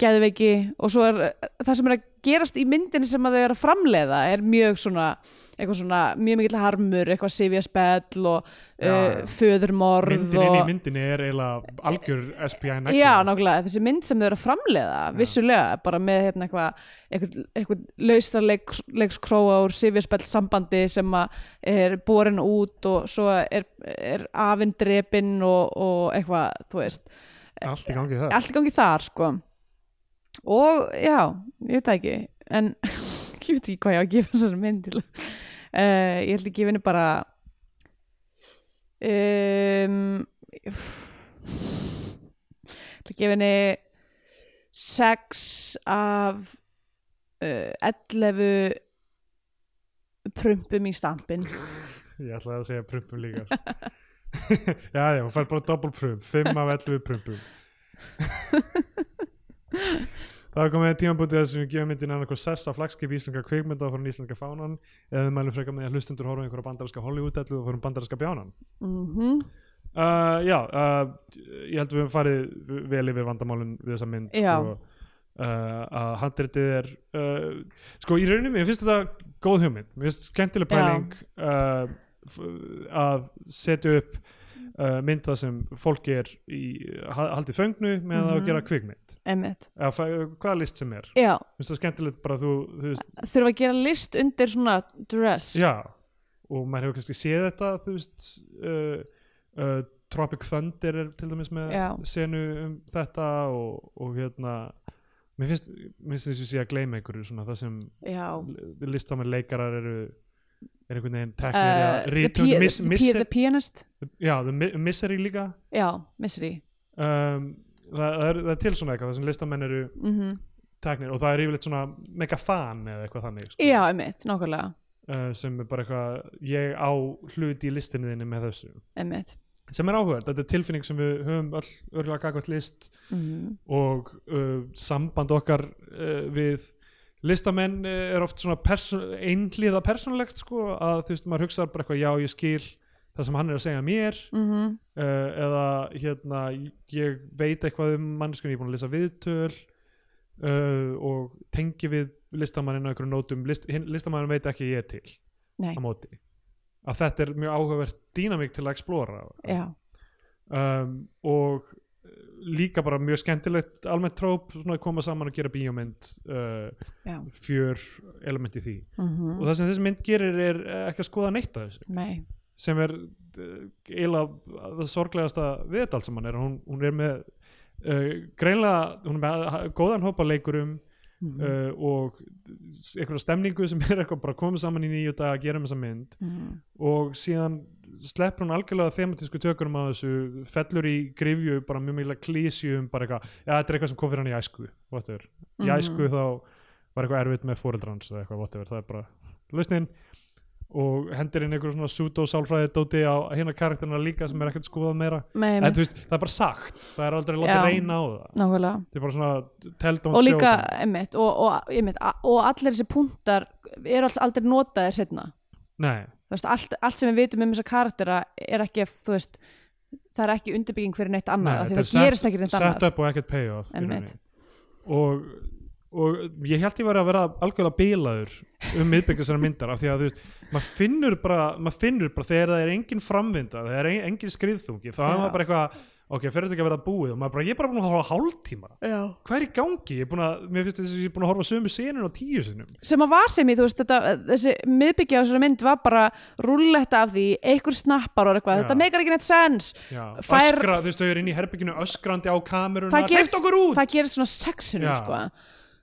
S2: geðveiki og svo er það sem er að gerast í myndinni sem að þau eru að framleiða er mjög svona eitthvað svona, mjög mikill harmur eitthvað sifjaspell og uh,
S1: Já, já.
S2: föðurmorð
S1: myndin
S2: og...
S1: inn í myndinni er eiginlega algjör SPI negla
S2: Já, nákvæmlega, þessi mynd sem þau eru að framleiða vissulega, bara með hérna, eitthvað eitthvað, eitthvað laustarleikskróa úr sifjarspell sambandi sem að er borin út og svo er, er afindrepin og, og eitthvað, þú veist
S1: allt í gangi það
S2: allt í gangi þar, sko og já, ég veit það ekki en <laughs> ég veit ekki hvað ég á að gefa þessari mynd til uh, ég held að gefa henni bara um, ég ætla að gefa henni 6 af uh, 11 prumpum í stampin
S1: Ég ætlaði að segja prumpum líka <laughs> Já, já, hún fær bara double prump 5 af 11 prumpum Það er komið tímabútið þessum við gefum myndin annað hvað sessa flagskip íslenga kvikmynda og fórum íslenga fánan eða við mælum frekar með að hlustendur horfum einhverja bandarinska Hollywood-ellu og fórum bandarinska bjánan
S2: mhm
S1: uh, Já, uh, ég held við höfum farið vel yfir vandamálun við þessa mynd
S2: Já.
S1: sko, uh, að handritið er uh, sko í rauninni, mér finnst þetta góð hugmynd, mér finnst skemmtileg
S2: Já.
S1: pæling uh, f- að setja upp uh, mynd það sem fólk er í ha- haldið föngnu með að
S2: Mhm.
S1: gera kvikmynd
S2: Einmitt.
S1: eða fæ- hvaða list sem er,
S2: Já,
S1: mér finnst það skemmtilegt bara þú, þú veist,
S2: þurfa að gera list undir svona dress
S1: já og maður hefur kannski séð þetta þú veist uh, uh, Tropic Thunder er til dæmis með
S2: Já.
S1: senu um þetta og, og hérna mér finnst, mér finnst þess að sé að gleyma einhverju svona það sem
S2: já
S1: listamenn leikarar eru er einhvern veginn teknir uh,
S2: Uh, the,
S1: rítund,
S2: pi-
S1: miss,
S2: the,
S1: miss,
S2: pi- the Pianist
S1: já, the mi- misery líka
S2: já, Misery
S1: um, það, það, er, það er til svona eitthvað það sem listamenn eru
S2: mm
S1: teknir og það er yfirleitt svona mega fan eða eitthvað þannig sko,
S2: já, einmitt, nákvæmlega
S1: uh, sem er bara eitthvað ég á hlut í listinni þinni með þessu
S2: einmitt
S1: sem er áhugað, þetta er tilfinning sem við höfum öll örgulega kakvæmt list
S2: mm
S1: og uh, samband okkar uh, við listamenn uh, er oft svona perso einhliða persónulegt sko að þú veist maður hugsaðar bara eitthvað já ég skil það sem hann er að segja mér
S2: -hmm.
S1: uh, eða hérna ég veit eitthvað um mannskunni, ég er búin að lesa viðtöl uh, og tengi við listamanninn á einhverjum nótum List, hinn- listamanninn veit ekki að ég er til
S2: nei,
S1: á móti að þetta er mjög áhugavert dýnamík til að explora
S2: já,
S1: um, og uh, líka bara mjög skemmtilegt almennt tróp svona að koma saman og gera bíómynd uh,
S2: já
S1: fjör element í því
S2: mhm,
S1: og það sem þessi mynd gerir er eh, ekki að skoða neitt af þessu
S2: nei,
S1: sem er uh, eiginlega það sorglegasta við þetta allt saman er að hún, hún er með uh, greinlega, hún er með ha- góðan hópa leikurum
S2: Mhm.
S1: uh, og s- einhverja stemningu sem <laughs> er eitthvað bara komið saman í nýju dag að gera með þessa mynd
S2: mhm,
S1: og síðan sleppur hún algjörlega thematísku tökurum á þessu fellur í grifju bara mjög mikla klísju um bara eitthvað, já þetta er eitthvað sem kom fyrir hann í æsku whatever, í
S2: Mhm.
S1: æsku þá var eitthvað erfitt með fóreldrans eða eitthvað whatever, það er bara lausnin og hendir inn einhverjum svona pseudo-sálfræði dóti á hérna karakterina líka sem er ekkert skoðað meira
S2: nei,
S1: en,
S2: einmitt,
S1: þú veist, það er bara sagt, það er aldrei látið
S2: Já.
S1: reyna á það
S2: nákvæmlega
S1: þetta er bara svona tell don't
S2: og
S1: show
S2: líka,
S1: them.
S2: einmitt, og, og, einmitt a- og allir þessi punktar eru alls aldrei notaðir setna
S1: Nei,
S2: Þú veist, allt, allt sem við vitum um þessa karaktera er ekki, þú veist það er ekki undirbygging fyrir neitt annað af því
S1: þetta
S2: það
S1: er set-
S2: gerist ekki neitt annað
S1: set up og ekkert payoff í
S2: Einmitt.
S1: rauninni. og, og ég held ég var að vera algjörlega bilaður um miðbyggja þessari myndar af því að þú veist, maður finnur bara, maður finnur bara þegar það er engin framvinda það er en- engin skriðþungi, þá er
S2: Já.
S1: maður bara eitthvað ok, fyrir þetta ekki að vera búið og maður bara, ég er bara búin að horfa á hálftíma
S2: Já.
S1: hvað er í gangi, ég er búin að, mér finnst þess að ég er búin að horfa á sömu senun á tíu sinum
S2: sem að var sem í, þú veist, þetta, þessi miðbyggja á þessari mynd var bara rúlletta af því, einhver snappar og eitthvað,
S1: Já.
S2: þetta meikar ekki neitt sens
S1: Já,
S2: Fær-
S1: öskra, þú veist, þau eru inn í herbygginu öskrandi á kameruna,
S2: það gerist,
S1: "Hleyptu okkur út
S2: það gerist svona sexinu
S1: Já.
S2: sko.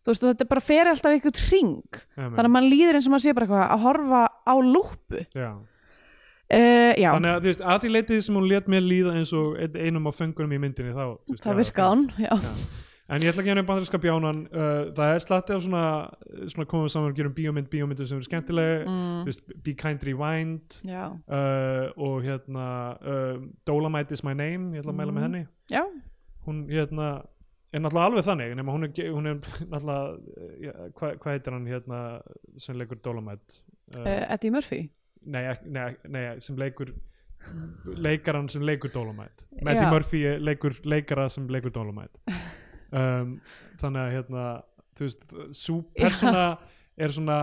S2: þú veist, og þetta bara fer alltaf eitthvað ring,
S1: Amen.
S2: þannig að mann líður eins og maður sé bara eitthvað að horfa á lúpu
S1: Já.
S2: uh, já,
S1: þannig að þú veist, að því leitið sem hún let mér líða eins og einn- einum af föngunum í myndinni þá, þú veist,
S2: það
S1: er
S2: virkaði
S1: fínt.
S2: hann já,
S1: en ég ætla ekki að nefna bandarinska bjánan uh, það er slatti af svona, svona komum við saman og gerum bíómynd, bíómyndum sem eru skemmtileg
S2: Mm.
S1: þú veist, Be Kind Rewind
S2: já,
S1: uh, og hérna uh, Dolomite is my name, ég ætla að mæla með henni
S2: Mm. já,
S1: hún hérna er náttúrulega alveg þannig nema hún er, ge- hún er <laughs> náttúrulega eh, ja, hvað hva heitir hann hérna sem leikur Dolomite
S2: uh, Eddie Murphy
S1: nei, ek- nei, ek- nei, sem leikur leikaran sem leikur Dolomite Matty
S2: Já.
S1: Murphy er leikur leikara sem leikur Dolomite um, þannig að hérna þú veist, sú persona er svona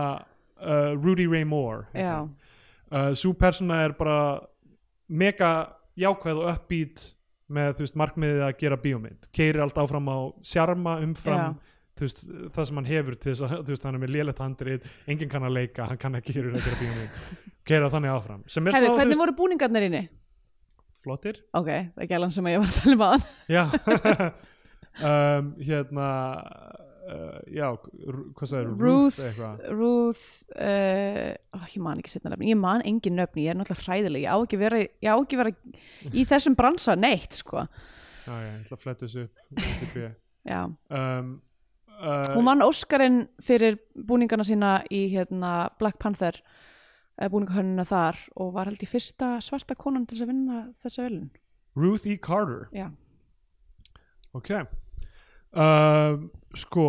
S1: uh, Rudy Ray Moore
S2: já,
S1: heitir hann. uh, sú persona er bara mega jákvæð og uppbít með þú veist, markmiðið að gera bíómynd keirir allt áfram á sjarma umfram þú veist, það sem hann hefur til þess að þú veist, hann er með lélegt handrið enginn kann að leika, hann kann ekki hér að gera bíómynd
S2: <laughs>
S1: keira þannig áfram sem er
S2: herri,
S1: svona, þú
S2: hvernig voru búningarnir inni?
S1: flottir
S2: ok, það er gælan sem ég var að tala um aðan
S1: já <laughs> um, hérna uh, já, Ru- hvað sagði
S2: Ruth,
S1: eitthvað
S2: Ruth uh, ó, ég man ekki setna nöfni, ég man engin nöfni ég er náttúrulega hræðileg, ég á ekki vera, ég á ekki vera
S1: <laughs>
S2: í þessum bransa neitt sko.
S1: já, já, ég ætla að fletta þessu upp IMDb.
S2: já,
S1: um, uh,
S2: hún vann Óskarinn fyrir búningana sína í hérna, Black Panther eh, búningahönnuna þar og var held í fyrsta svarta konan til þess að vinna þessa velun
S1: Ruth E. Carter
S2: já,
S1: ok um, sko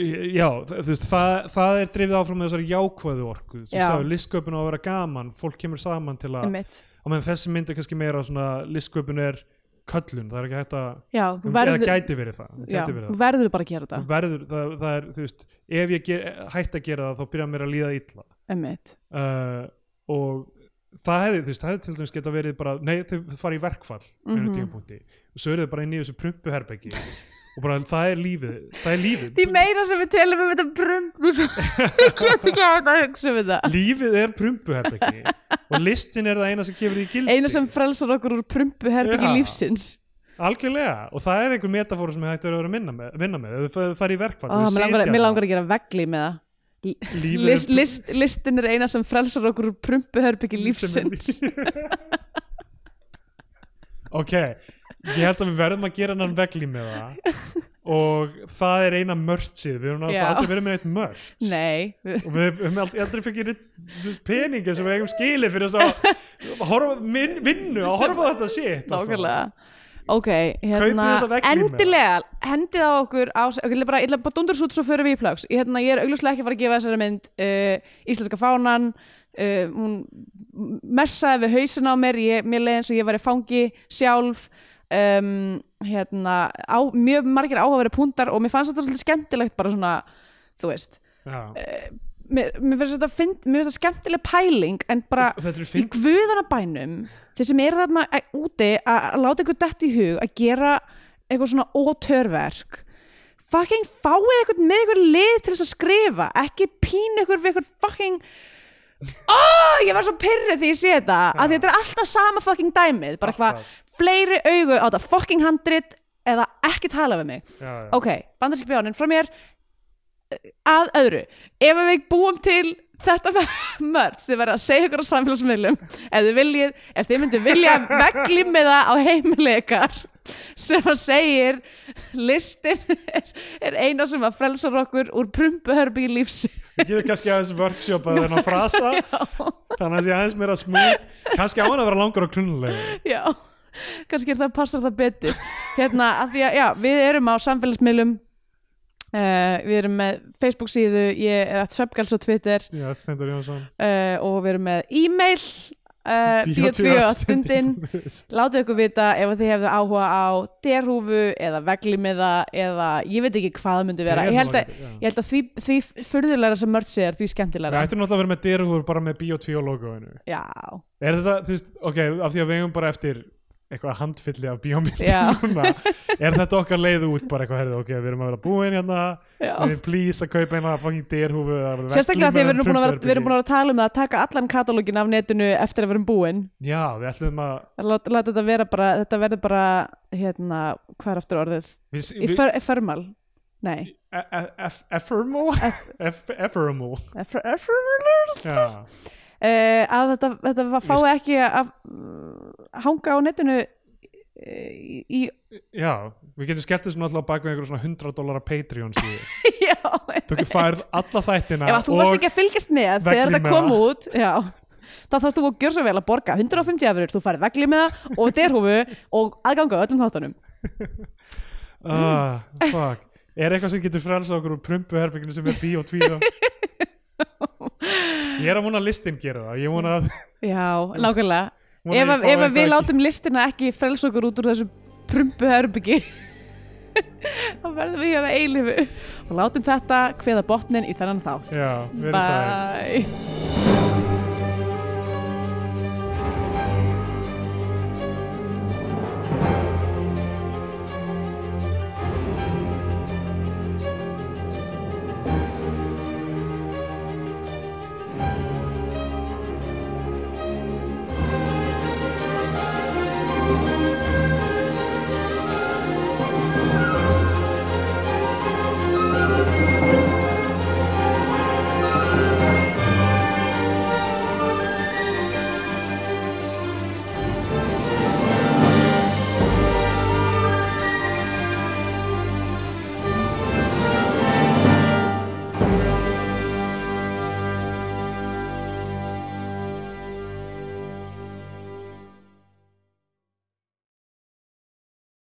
S1: í- já, þ- þú veist, það, það er drifið áfram með þessari jákvæðu orku sem
S2: Já.
S1: sagði listsköpun á að vera gaman, fólk kemur saman til að,
S2: einmitt
S1: og meðan þessi mynd er kannski meira svona listsköpun er köllun, það er ekki hægt að
S2: já, þú verður,
S1: eða gæti verið það, hún
S2: já,
S1: gæti verið
S2: þú
S1: það.
S2: verður bara að gera
S1: Hún
S2: þetta
S1: Verður, það, það er, þú veist, ef ég ger, hætt að gera það þá byrja mér að líða illa
S2: einmitt,
S1: uh, og það hefði, þú veist, það hefði til dæmis geta verið bara, nei, þau fara í verkfall mm -hmm.
S2: Mhm.
S1: tímapunkti og svo eru þau bara inn í þessu prumpuherbeggi og bara það er lífið, það er lífið
S2: því meira sem við telum um þetta brumbu
S1: <laughs>
S2: ég get ekki að þetta hugsa um þetta
S1: lífið er prumpuherbeggi og listin er það eina sem gefur því gildi
S2: eina sem frelsar okkur úr prumbu
S1: Já.
S2: lífsins
S1: algjörlega og það er einhver metafóra sem hægt verður að vera að minna með, vinna með ef þau fara í verkfall
S2: Ó,
S1: þau
S2: mér, langar,
S1: sitja
S2: mér
S1: þarna.
S2: langar að gera vegli með það
S1: Lífið er-
S2: list, list, listin er eina sem frelsar okkur úr prumpuherbyggi lífsins
S1: <laughs> ok ég held að við verðum að gera hann vegli með það og það er eina mörtsið við höfum
S2: Já.
S1: náttúrulega aldrei verið með eitt mörts
S2: nei,
S1: og við við höfum aldrei, aldrei fengið neitt, þú veist, peninga sem við eigum skilið fyrir þess að horfa, minn, vinnu að horfa á þetta shit alltaf.
S2: nákvæmlega ok, hérna,
S1: þessa veggmínu.
S2: endilega hendið á okkur, á, ok, ég ætla bara, ég ætla bara dundur svo út svo förum við í plöks, ég, hérna, ég er augljóslega ekki að fara að gefa þessari mynd uh, íslenska fánan uh, hún messaði við hausin á mér ég, mér leið eins og ég væri fangi sjálf um, hérna, á, mjög margir áhafari púntar og mér fannst þetta svolítið skemmtilegt bara svona, þú veist
S1: Já.
S2: mér, mér finnst þetta fynd- mér finnst þetta skemmtileg pæling en bara
S1: Og þetta er
S2: í
S1: fínt
S2: guðanabænum þeir sem eru þarna að- úti að að láta ykkur dett í hug að gera eitthvað svona ótörverk fucking fáið eitthvað með ykkur lið til þess að skrifa ekki pínu ykkur við ykkur fucking oh, ég var svo pyrruð því ég sé þetta af því þetta er alltaf sama fucking dæmið bara eitthvað
S1: Alltaf.
S2: fleiri augu á þetta fucking handrit eða ekki tala við mig
S1: já, já.
S2: ok, bandarski bjáninn frá mér eh, að öðru ef við búum til þetta <laughs> mörg þið verða að segja ykkur á samfélagsmiðlum ef þið viljið, ef þið myndu vilja veglými það á heimileikar sem að segir listin er, er eina sem að frelsar okkur úr prumpuhörbi í lífsi
S1: Ég getur kannski aðeins workshop að þennan frasa
S2: <laughs> já,
S1: þannig að ég aðeins meira smúð kannski á hann að vera langur og klunnulega
S2: já kannski er það passar það betur hérna, að því að, já, við erum á samfélagsmiðlum uh, við erum með Facebook síðu, ég er að svefgals á Twitter
S1: Já, þetta stendur Jónsson
S2: uh, og við erum með e-mail uh, bíotvíuastundin látið ykkur vita ef þið hefðu áhuga á derhúfu eða veglimiða eða ég veit ekki hvað það myndi vera ég held að,
S1: Derhúfa, já.
S2: ég held að því, því furðulega sem mörg sér því
S1: Við
S2: skemmtilega
S1: ættum náttúrulega að vera með dyrhúr bara með Bio2 logoinu
S2: já,
S1: Er þetta, þú veist, ok, af því að við eigum bara eftir eitthvað handfylli af
S2: Já.
S1: bíómyndum <laughs> núna er þetta okkar leið út bara eitthvað, herðu, ok, við erum að vera búin hérna
S2: já.
S1: við erum please að kaupa eina fucking derhúfu
S2: sérstaklega því að við erum búin að vera, við erum búin að, vera að tala um það að taka allan katalógin af netinu eftir að við erum búin
S1: Já, við ætlum að
S2: láta, láta þetta vera bara, þetta verður bara hérna, hvað er aftur orðið
S1: við,
S2: í
S1: við,
S2: för, förmal, nei
S1: e- e- eff- Effermal? Eff- Effermal
S2: förmal
S1: Já,
S2: uh, að þetta, þetta var- fái ekki að uh, hanga á netinu uh, í, í
S1: já, við getum skellt þessu náttúrulega á bak við einhverjum svona 100 dólar Patreon síðu
S2: já,
S1: Þú færð alla þættina
S2: ef að þú varst ekki að fylgjast með þegar
S1: vegli
S2: þetta
S1: með
S2: kom
S1: það.
S2: út já, þá þarf þú að gjöra svo vel að borga 150 efurur, þú farið vegli með það og derhúfu og aðganga að öllum þáttunum
S1: Ah, fuck Er eitthvað sem getur frelsa okkur úr prumpuherbygginu sem er bíó
S2: <laughs>
S1: tvíó? Ég er að vona að listin gera það Ég vona að
S2: já, nákvæmlega
S1: Vona
S2: ef,
S1: ég
S2: að,
S1: fái
S2: ef að við
S1: eitthvað
S2: látum listina ekki frels okkur út úr þessu prumpu herbyggi <laughs> þá verðum við hérna eilifu og látum þetta hveða botnin í þennan þátt
S1: Já, verið sæl
S2: Bye